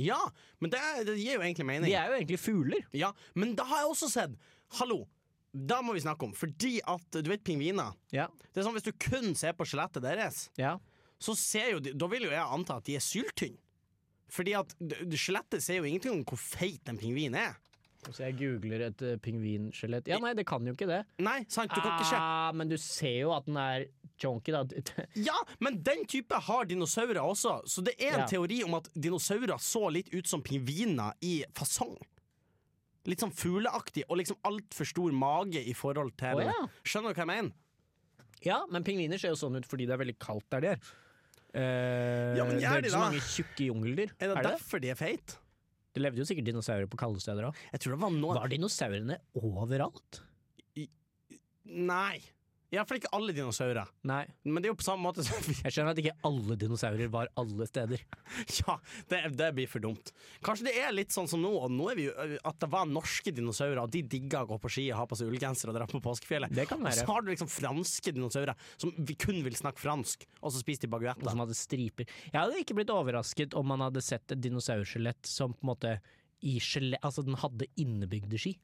Ja, men det, er- det gir jo egentlig mening.
De er jo egentlig fugler.
Ja, men da har jeg også sett Hallo, da må vi snakke om Fordi at, du vet pingviner
Ja.
Det er sånn hvis du kun ser på skjelettet deres
Ja.
Så ser jo de, da vil jo jeg anta at de er syltynn Fordi at d- d- skjelettet ser jo ingenting om hvor feit en pingvin er
Så jeg googler et eh, pingvinskjelett. Ja, nei, det kan jo ikke det.
Nei, sant, du kan ikke se
Ah, men du ser jo at den er chonky, da.
Ja, men den type har dinosaurer også Så det er en
Ja.
teori om at dinosaurer så litt ut som pingviner i fasong Litt sånn fugleaktig Og liksom alt for stor mage i forhold til
Å, ja.
Skjønner du hva jeg mener?
ja, men pingviner ser jo sånn ut fordi det er veldig kaldt der de er. Eh,
Ja, men
det
gjør
er
de
ikke så
da?
mange tjukke jungeldyr.
Er det,
er det?
derfor de er feit?
det levde jo sikkert dinosaurer på kalde steder òg.
Jeg tror det var noen
Var dinosaurene overalt?
Nei. Iallfall ikke alle dinosaurer.
Nei.
Men det er jo på samme måte som vi
Jeg skjønner at ikke alle dinosaurer var alle steder.
Ja, det, det blir for dumt. Kanskje det er litt sånn som nå, og nå er vi jo at det var norske dinosaurer, og de digga å gå på ski og ha på seg ullgenser og dra på påskefjellet.
Det kan
Og så
være.
har du liksom franske dinosaurer som vi kun vil snakke fransk, og så spiser de
Og
baguetter.
som hadde striper. Jeg hadde ikke blitt overrasket om man hadde sett et dinosaurskjelett som på en måte i skjelett, altså den hadde innebygde ski.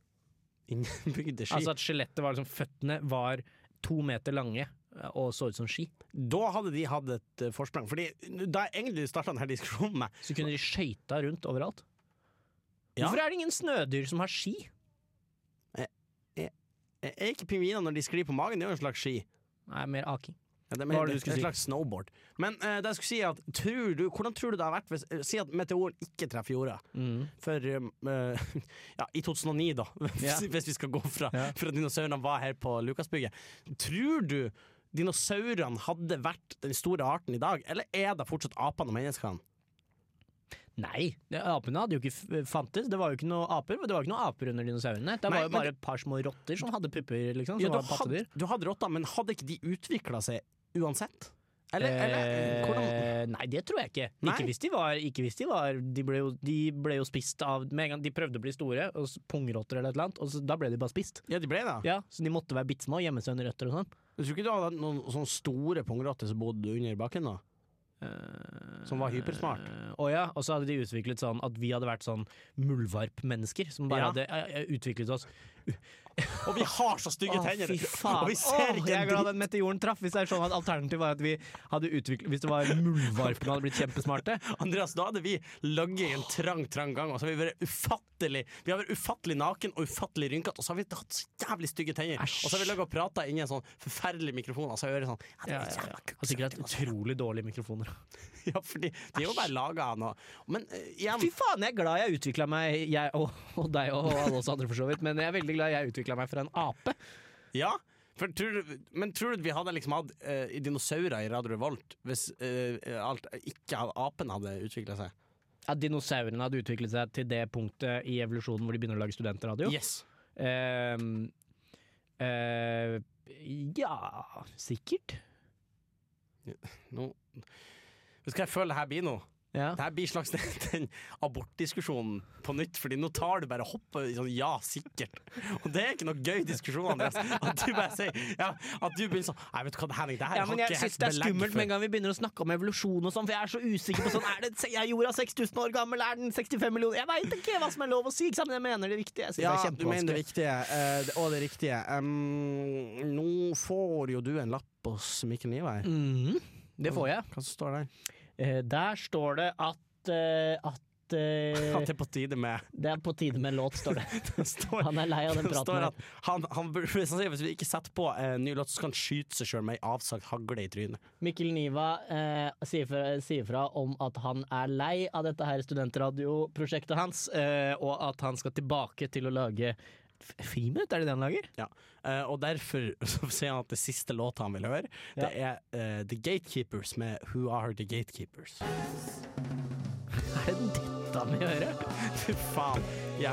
Innebygde ski.
Altså at skjelettet var liksom Føttene var to meter lange eh, og så ut som ski.
da hadde de hatt et eh, forsprang. Fordi da jeg egentlig starta denne diskusjonen med
Så kunne de skøyta rundt overalt.
Ja.
Hvorfor er det ingen snødyr som har ski?
Er ikke pingviner når de sklir på magen, det er jo en slags ski.
Nei, mer aking.
Ja, det,
Hva var det du
det-
skulle si?
det er Et slags snowboard. Men eh, det jeg skulle si er at tror du, Hvordan tror du det har vært hvis eh, Si at meteoren ikke treffer jorda
Mm.
for um, eh, Ja, i 2009, da. Hvis,
Ja.
hvis vi skal gå fra,
Ja.
fra dinosaurene var her på Lukasbygget. Tror du dinosaurene hadde vært den store arten i dag, eller er det fortsatt apene og menneskene?
Nei, det- apene hadde jo ikke f- eh, fantes. Det var jo ikke noe aper Det var jo ikke noe aper under dinosaurene. Det
Nei,
var jo
men
bare et par små rotter som hadde pupper, liksom. Som
Ja, du,
var
hadde,
pattedyr.
du hadde rotter, men hadde ikke de utvikla seg uansett? Eller, eller hvordan
Eh, nei, det tror jeg ikke.
Nei?
Ikke hvis de var, ikke hvis de, var de, ble jo, de ble jo spist av Med en gang de prøvde å bli store, og s- pungrotter eller et eller annet, og så, da ble de bare spist.
Ja, de ble det.
Ja, Så de måtte være bitte små og gjemme seg under røtter og sånn.
Jeg tror ikke du hadde hatt noen sånne store pungrotter som bodde under bakken? da Som var hypersmart.
Eh, Å ja, og så hadde de utviklet sånn at vi hadde vært sånn muldvarpmennesker som bare
Ja.
hadde eh, eh, utviklet oss.
Og vi har så stygge
Å,
tenner!
fy faen!
Og vi ser
Å,
ikke
jeg
en
er glad
dritt!
den meteoren traff. Hvis det er sånn at alternativet var at vi hadde utviklet Hvis det var muldvarpene hadde blitt kjempesmarte.
Andreas, da hadde vi ligget i en trang, trang gang, og så har vi vært ufattelig Vi har vært ufattelig naken og ufattelig rynkete, og så har vi hatt så jævlig stygge tenner.
Æsj.
Og så har vi ligget og prata inni en sånn forferdelig mikrofon, og så hører jeg sånn ja, det
Ja,
er
ja,
jævla
ja.
kukk,
Har sikkert hatt
sant,
utrolig dårlige mikrofoner.
altså. Ja, fordi de er jo bare laga av noe. Men eh, igjen,
Fy faen, jeg er glad jeg utvikla meg, jeg og, og deg og alle oss andre for så vidt, men jeg er veldig glad jeg utvikla meg fra en ape.
ja. For tror du, men tror du vi hadde liksom hatt eh, dinosaurer i Radio Revolt hvis eh, alt ikke hadde, apen hadde utvikla seg?
At dinosaurene hadde utviklet seg til det punktet i evolusjonen hvor de begynner å lage studentradio.
Yes.
Ehm, eh, ja Sikkert.
Nå Vet du hva jeg føler det her blir nå?
Ja.
Det her blir slags den, den abortdiskusjonen på nytt, Fordi nå tar du bare hoppet i sånn ja, sikkert. Og det er ikke noe gøy diskusjon, Andreas. At du bare sier ja, At du begynner sånn Nei, vet du hva, det her, det her
Ja, men
har
jeg
ikke
syns
helt
det er
belegg
skummelt
for.
med en gang vi begynner å snakke om evolusjon og sånn, for jeg er så usikker på sånn Er det se- er jorda 6000 år gammel, er den 65 millioner Jeg veit ikke hva som er lov å si, ikke sant, men jeg mener det viktige. Jeg synes
Ja,
det er
du mener
kjempevanskelig.
det viktige, eh, det- og det riktige. Em, nå får jo du en lapp hos Mikkel Niva her.
Mhm, det får jeg.
Hva som står der?
Eh, der står det at eh, at eh,
At det er på tide med
det er på tide med en låt, står det.
Det står
Han er lei av den
Det
praten
står
her.
at han, han, burde- hvis, han sier, hvis vi ikke setter på eh, ny låt, så skal han skyte seg sjøl med ei avsagt hagle i trynet.
Mikkel Niva eh, sier, fra, sier fra om at han er lei av dette her studentradioprosjektet hans, eh, og at han skal tilbake til å lage f- Friminutt, er det det han lager?
Ja. Eh, og derfor så sier han at det siste låta han vil høre, det er eh, The Gatekeepers med Who Are The Gatekeepers.
Er det dette han i øret.
Fy faen. Ja.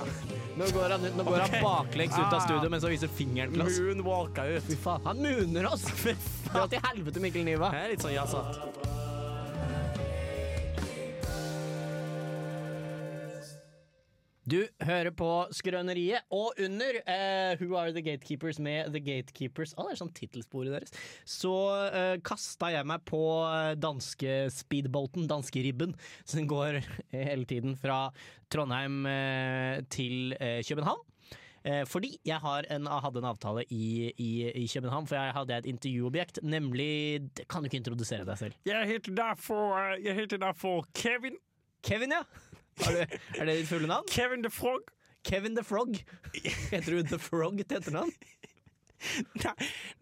Nå går han, ut- nå går
Ok.
han baklengs ut av
Ah.
studio mens han viser fingeren til oss.
Moonwalka ut.
Fy faen, han mooner oss! Fy faen. Dra til helvete, Mikkel Niva.
Det er litt sånn jazzat.
Du hører på Skrøneriet og under eh, Who Are The Gatekeepers med The Gatekeepers. Å, det er sånn tittelsporet deres. Så uh, kasta jeg meg på eh, danske speedboaten, danskeribben, som går eh, hele tiden fra Trondheim eh, til eh, København. Eh, fordi jeg har en, hadde en avtale i, i, i København, for jeg hadde et intervjuobjekt, nemlig Kan du ikke introdusere deg selv?
Jeg heter derfor, eh, jeg heter derfor Kevin.
Kevin, ja! Er det, er det ditt fulle navn?
Kevin the Frog.
Kevin the Frog. Heter du The Frog til etternavn?
Nei,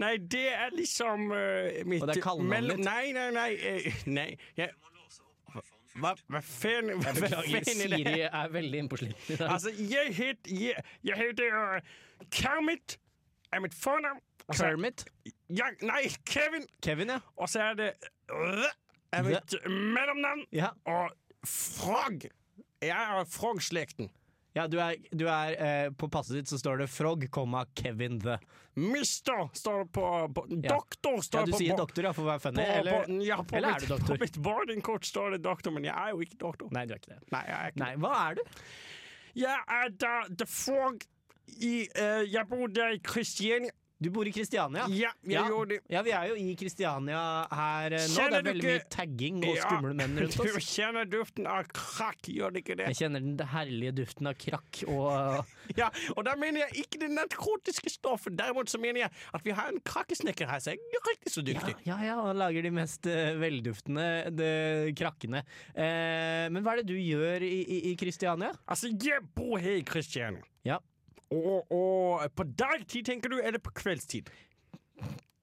nei, det er liksom eh, mitt
Og det er kallenavnet ditt?
mellom- Nei, nei, nei. eh, nei jeg, hva, hva faen hva faen er det her?
Siri er veldig innpåsliten i dag.
Altså, jeg het Jeg, jeg heter eh, Kermit er mitt fornavn. Og så-
Kermit.
Ja, nei, altså, Kevin.
Kevin, ja.
Og så er det øh, er mitt mellomnavn.
Ja,
Og Frog. Jeg er Frog-slekten.
ja du er, du er eh, På passet ditt så står det Frog, komma, Kevin the.
Mister står det på, på
Ja.
Doktor står
Ja,
det
du
på
sier
bo-
doktor, ja, for å være
På,
funny.
eller,
Eller,
på, ja, på
eller er
mitt,
du doktor?
På mitt boardingkort står det doktor, men jeg er jo ikke doktor.
nei, du er ikke det.
Nei, jeg er ikke
Nei, hva er du?
Jeg er da The Frog i eh, Jeg bodde i Kristiania.
Du bor i Kristiania.
Ja, jeg gjorde det.
ja, vi er jo i Kristiania her eh, nå. Det
Kjenner
er
du
veldig
ikke-
mye tagging og
Ja,
skumle menn rundt
Du
oss.
kjenner duften av krakk, gjør du ikke det?
Jeg kjenner den herlige duften av krakk og
Ja, og da mener jeg ikke det narkotiske stoffet. Derimot så mener jeg at vi har en krakkesnekker her som er riktig så
Ja,
dyktig.
ja, ja, han lager de mest eh, velduftende de, krakkene. Eh, men hva er det du gjør i, i, i Kristiania?
Altså, jeg bor her i Kristiania.
Ja.
Og, og på dagtid, tenker du, eller på kveldstid?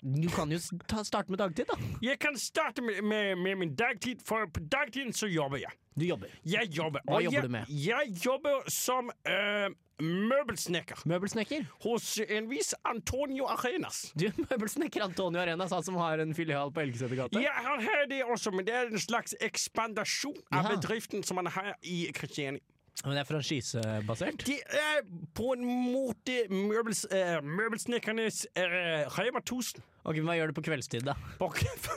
Du kan jo s- ta, starte med dagtid, da.
Jeg kan starte med, med, med min dagtid, for på dagtiden så jobber jeg.
Du jobber.
Jeg jobber.
Hva
og
jobber
jeg,
du med?
Jeg jobber som eh, møbelsnekker
Møbelsnekker.
hos en viss Antonio Arenas.
Du er møbelsnekker Antonio Arenas, han som har en filial på Elgeseter gate.
Ja, han har det også, men det er en slags ekspandasjon av
Ja.
bedriften som han har i Kristiania.
Men det er franchisebasert.
Det er på en måte møbels, eh, møbelsnekkernes eh, Rema 1000.
Ok, men Hva gjør du på kveldstid, da?
På, kve-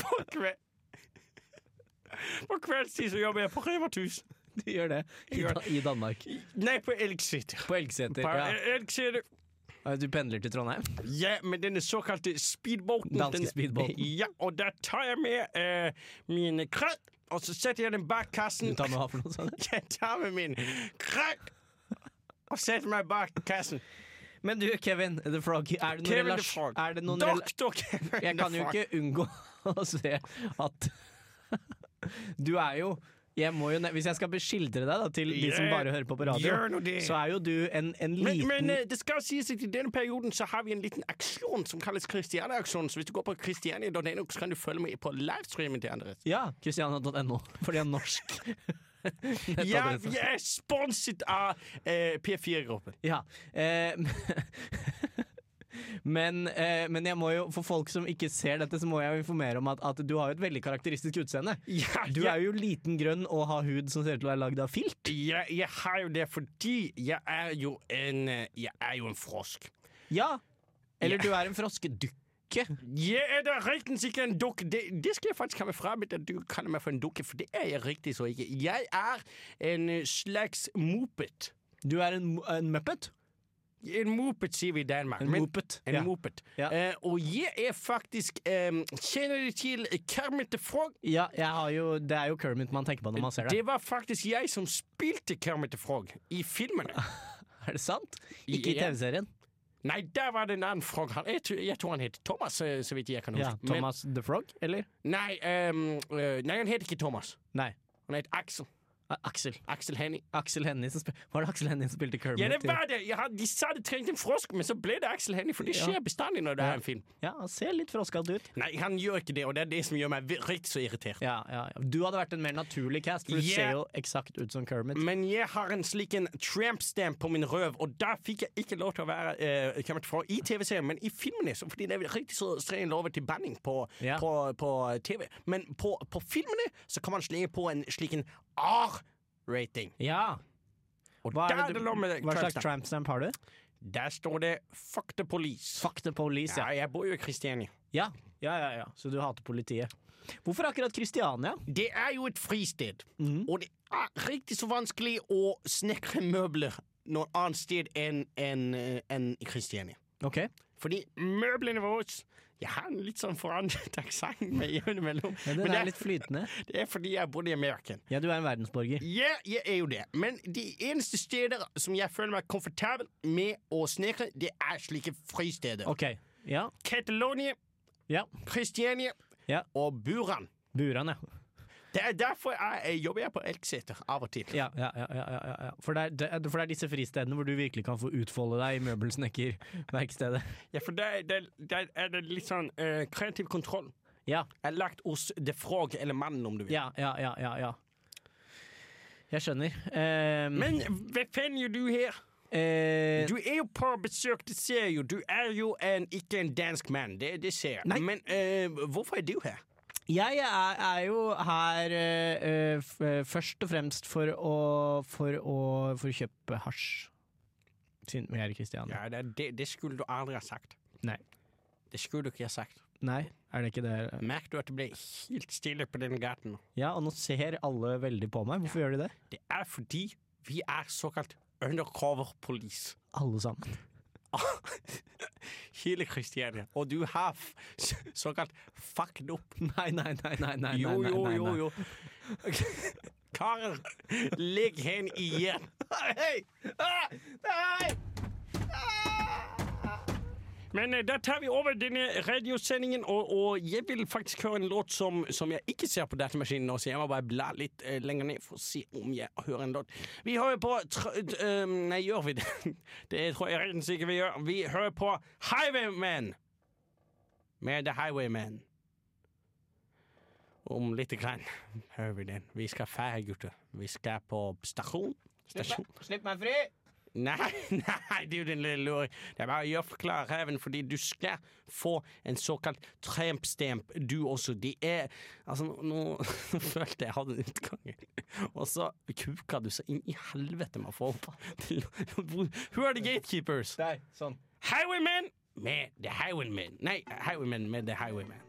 på, kve, på kveldstid så jobber jeg på Rema 1000.
Du gjør det i,
gjør-
da, i Danmark.
Nei, på Elgseter.
På Elgeseter.
På
Ja.
Elgseter.
Du pendler til Trondheim?
Ja, med denne såkalte speedboaten.
Danske
Den-
speedboaten.
Ja, og der tar jeg med eh, mine krøtt, og så setter jeg den bak kassen.
Du tar med hva for noe sånt?
Jeg tar med min krøtt og setter meg bak kassen.
Men du, Kevin the Frog, er det noen
Kevin the
relasj-
Frog.
Er det noen rela-
Doktor Kevin the
Jeg kan jo
Frog.
ikke unngå å se at Du er jo jeg må jo, ne- hvis jeg skal beskildre deg da, til de som
Yeah.
bare hører på på radio,
Gjør nå det.
så er jo du en, en
Men,
liten
men eh, det skal sies at i denne perioden så har vi en liten aksjon som kalles Kristiania-aksjonen. Så hvis du går på kristiania.no, så kan du følge med på livestreamen til Andres.
Ja, Christiania.no, fordi jeg er norsk.
Ja,
Nettadresse.
vi er sponset av eh, P4-gruppen.
Ja. Eh, men, eh, men jeg må jo, for folk som ikke ser dette, så må jeg jo informere om at, at du har jo et veldig karakteristisk utseende.
Ja,
Du
ja.
er jo liten grønn og har hud som ser ut til å være lagd av filt.
Jeg, jeg har jo det fordi jeg er jo en eh, Jeg er jo en frosk.
Ja. Eller
Ja.
du er en froskedukke.
Jeg er da riktig sikkert en dukke. Det, det skal jeg faktisk ha meg frabedt at du kaller meg for en dukke, for det er jeg riktig så ikke. Jeg er en eh, slags moped.
Du er en, mo- en muppet.
En moped, sier vi i Danmark.
En
men-
moped.
En
ja.
moped.
Ja.
Eh, og jeg er faktisk eh, Kjenner du til øh, Kermit the Frog?
Ja, jeg har jo, det er jo Kermit man tenker på når man ser det.
Det var faktisk jeg som spilte Kermit the Frog i filmene.
Ah. Er det sant? Ikke i
Ja.
TV-serien.
Nei, der var det en annen frog. Han, jeg, tror- jeg tror han het Thomas, eh, så vidt jeg kan
Ja,
huske. Men- øh,
Thomas the Frog, eller?
Nei, ehm, eh, nei, han heter ikke Thomas.
Nei.
Han heter Axel.
Aksel.
Aksel Hennie.
Aksel Hennie som spil- Var det Aksel Hennie som spilte Kermit?
Ja, det
i-
var det! Jeg hadde, de sa det trengte en frosk, men så ble det Aksel Hennie, for det
Ja.
skjer bestandig når det
Ja.
er en film.
ja han ser litt froskete ut.
Nei, han gjør ikke det, og det er det som gjør meg vir- riktig så irritert.
Ja, ja, ja. Du hadde vært en mer naturlig cast, for du
Yeah.
ser jo eksakt ut som Kermit.
Men jeg har en slik en tramp-stamp på min røv, og der fikk jeg ikke lov til å være eh, kommet fra i TV-serien, men i filmene, så, fordi det er riktig så streng lov til banning på,
Ja.
på, på øh, TV. Men på, på filmene så kan man slenge på en slik en R-rating.
Ja.
Og
Hva, er
der
det
er
du-
det lov med
hva
tramp
slags
stamp.
tramp stamp har du?
Der står det 'fuck the police'.
Fuck the police,
Ja,
ja.
jeg bor jo i Kristiania.
Ja. ja, ja, ja. Så du hater politiet. Hvorfor akkurat Kristiania?
Det er jo et fristed,
Mhm.
og det er riktig så vanskelig å snekre møbler noe annet sted enn enn, eh, enn i Kristiania.
Ok.
Fordi møblene våre Jeg har en litt sånn forandret aksent med jevne mellom.
Ja,
Men
den
det
er
er-
litt flytende.
Det er fordi jeg bodde i Amerika.
Ja, du er en verdensborger.
Ja, jeg er jo det, men de eneste steder som jeg føler meg komfortabel med å snekre, det er slike fristeder.
Ok. Ja.
Catalonia,
ja.
Kristiania
Ja.
og Buran.
Buran, ja.
Det er derfor jeg, jeg jobber jeg på Elkseter av og til.
Ja, ja, ja, ja, ja, ja. For, det er, det er, for det er disse fristedene hvor du virkelig kan få utfolde deg i møbelsnekkerverkstedet.
Ja, for der, der, der er det litt sånn eh, kreativ kontroll.
Ja,
Er lagt hos det frog eller mannen, om du vil.
ja, ja, ja, ja, ja. Jeg skjønner. Eh,
Men hva faen gjør du her?
eh,
Du er jo på besøk, det ser jeg jo. Du er jo en, ikke en dansk mann, det, det ser jeg.
Nei.
Men eh, hvorfor er du her?
Jeg er, er jo her eh, eh, f- eh, først og fremst for å, for å, for å kjøpe hasj. Siden vi er i Kristiania.
Ja, det, det, det skulle du aldri ha sagt.
Nei.
Det skulle du ikke ha sagt.
Nei, er det ikke det?
Merk du at det ble helt stille på denne gaten? nå?
Ja, og nå ser alle veldig på meg. Hvorfor gjør de det?
Det er fordi vi er såkalt undercover police.
Alle sammen.
Hele Kristiania. Og du har f såkalt fucked up.
Nei, nei, nei, nei, nei, nei,
Jo,
nei,
jo,
nei,
jo,
nei.
jo. Karer, legg hen igjen. Hei! Ah! Hei! Ah! Men eh, da tar vi over denne radiosendingen, og, og jeg vil faktisk høre en låt som, som jeg ikke ser på datamaskinen nå, så jeg må bare bla litt eh, lenger ned for å se om jeg hører en låt. Vi hører på tr d- eh, Nei, gjør vi det? Det tror jeg rett sikkert vi gjør. Vi hører på Highwayman med The Highwayman. Om litt grann hører vi den. Vi skal fære, gutter. Vi skal på stasjon. Stasjon.
Slipp meg fri!
Nei, nei, du din lille luring. Det er bare å gjøre forklare reven, fordi du skal få en såkalt trampstamp, du også. De er Altså, nå, nå følte jeg hadde en utgang, og så kuka du så inn i helvete med å få opp. Who are the gatekeepers?
Der, sånn.
Highwaymen med The Highwaymen. Nei, Highwaymen med The Highwaymen.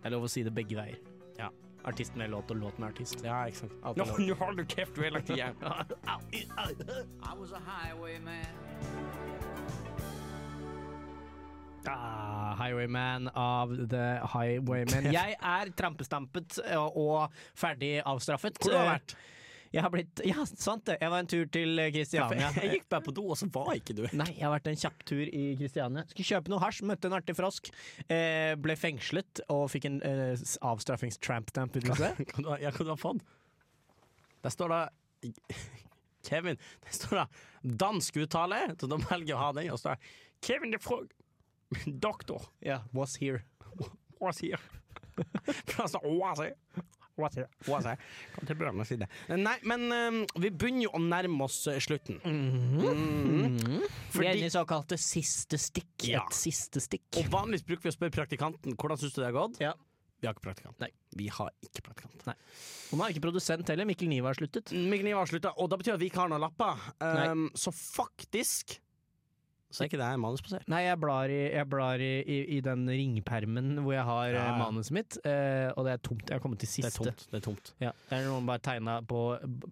Det er lov å si det begge veier.
Ja.
Artist med låt og låt med artist.
Ja, ikke sant.
Alt
Nå
er lov.
nå har du kjeft du hele tida.
I was a highwayman.
Ah, Highwayman av The Highwaymen. Jeg er trampestampet eh, og ferdig avstraffet.
Hvor har du
Eh,
vært?
Jeg har blitt Ja, sant det. Jeg var en tur til eh, Kristiania.
Jeg gikk bare på do, og så var ikke du
Nei, jeg har vært en kjapp tur i Kristiania. Skulle kjøpe noe hasj, møtte en artig frosk. Eh, ble fengslet og fikk en eh, s- avstraffings-tramp-stamp-utelse.
Kan du ha- Ja, kan du ha fått? Der står det Kevin. Der står det dansk uttale, så da velger jeg å ha den. Og så står det Kevin de Frog, doktor,
Ja, was here.
hva sier Hva sier Hva sier Hva sier Kom til Bjørnar side. Nei, men eh, vi begynner jo å nærme oss eh, slutten. Mhm.
Vi er
Fordi
inne i såkalte siste stikk.
Ja.
Et siste stikk.
Og vanligvis bruker vi å spørre praktikanten hvordan syns du det har gått.
Ja.
Vi har ikke praktikant.
Nei.
Vi har ikke praktikant.
Og nå er ikke produsent heller. Mikkel Niva har sluttet.
Migniv har slutta, og da betyr at vi ikke har noen lapper. Um, så faktisk Så er ikke det her manusbasert.
Nei, jeg blar, i, jeg blar i, i, i den ringpermen hvor jeg har
Ja,
eh,
ja.
manuset mitt, eh, og det er tomt. Jeg har kommet til
Det
siste.
er tomt. Det er tomt.
Ja, det er noen bare tegna på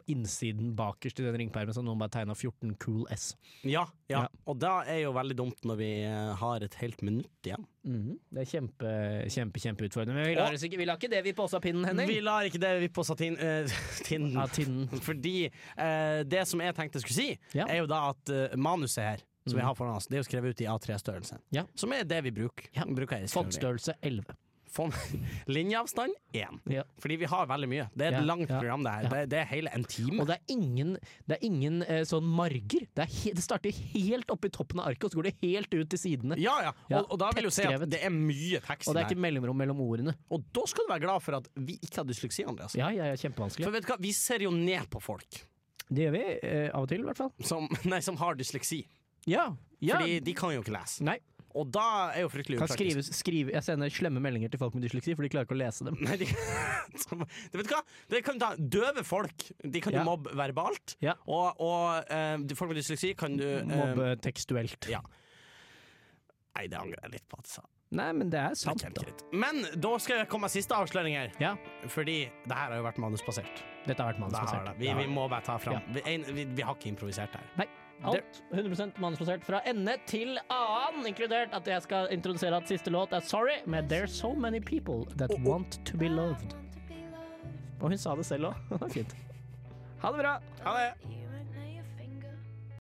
innsiden bakerst i den ringpermen, så noen bare tegna 14 cool S.
Ja,
Ja.
ja. Og det er jo veldig dumt når vi eh, har et helt minutt igjen.
Mhm. Det er kjempe, kjempe, kjempeutfordrende. Men vi lar,
Og-
oss ikke, vi lar ikke det vi på oss av pinnen, Henning.
Vi lar ikke det vi på satin, eh, tinden.
Av tinnen.
Fordi eh, det som jeg tenkte jeg skulle si,
Ja.
er jo da at eh, manuset her som vi
Mhm.
har foran oss, det er jo skrevet ut i A3-størrelsen.
Ja.
Som er det vi bruker.
Ja.
bruker her i skriving.
Fontstørrelse 11.
Få en- Linjeavstand én.
Ja.
Fordi vi har veldig mye. Det er
Ja,
et langt
ja,
program, det her.
ja.
Det, det er hele en time.
Og det er ingen, det er ingen eh, sånn marger. Det, er he, det starter helt oppe i toppen av arket, og så går det helt ut til sidene.
ja, ja.
Ja,
Og, og da vil jo si at
tettskrevet.
det er mye tekst
Og det er
der.
ikke mellomrom mellom ordene.
Og da skal du være glad for at vi ikke har dysleksi, Andreas.
Ja, ja, ja, kjempevanskelig.
For vet du hva, vi ser jo ned på folk
Det gjør vi eh, av og til, i hvert fall.
som, nei, som har dysleksi.
Ja, ja.
Fordi de kan jo ikke lese.
Nei.
Og da er jo fryktelig
Kan
upraktisk.
skrives, skrive, jeg sender slemme meldinger til folk med dysleksi, for de klarer ikke å lese dem.
Nei, de, som, du vet hva? Det kan ta, døve folk De kan
Ja.
du mobbe verbalt.
Ja.
Og, og eh, de- folk med dysleksi kan du eh,
Mobbe tekstuelt.
ja. Nei, det angrer jeg litt på. at jeg sa.
Nei, men det er
Det er
sant, da.
kjempegreit. Men da skal jeg komme med siste avsløring her.
Ja.
Fordi det her har jo vært manusbasert.
Dette har vært
Det har
manusbasert.
det. Vi, vi må bare ta fram.
Ja.
Vi, en, vi, vi har ikke improvisert her.
Nei. Alt 100 manusbasert fra ende til annen, inkludert at jeg skal introdusere at siste låt er Sorry med There's So Many People
Oh,
That Want To Be Loved. Og hun sa det selv òg. Fint. Ha det bra.
Ha det!
You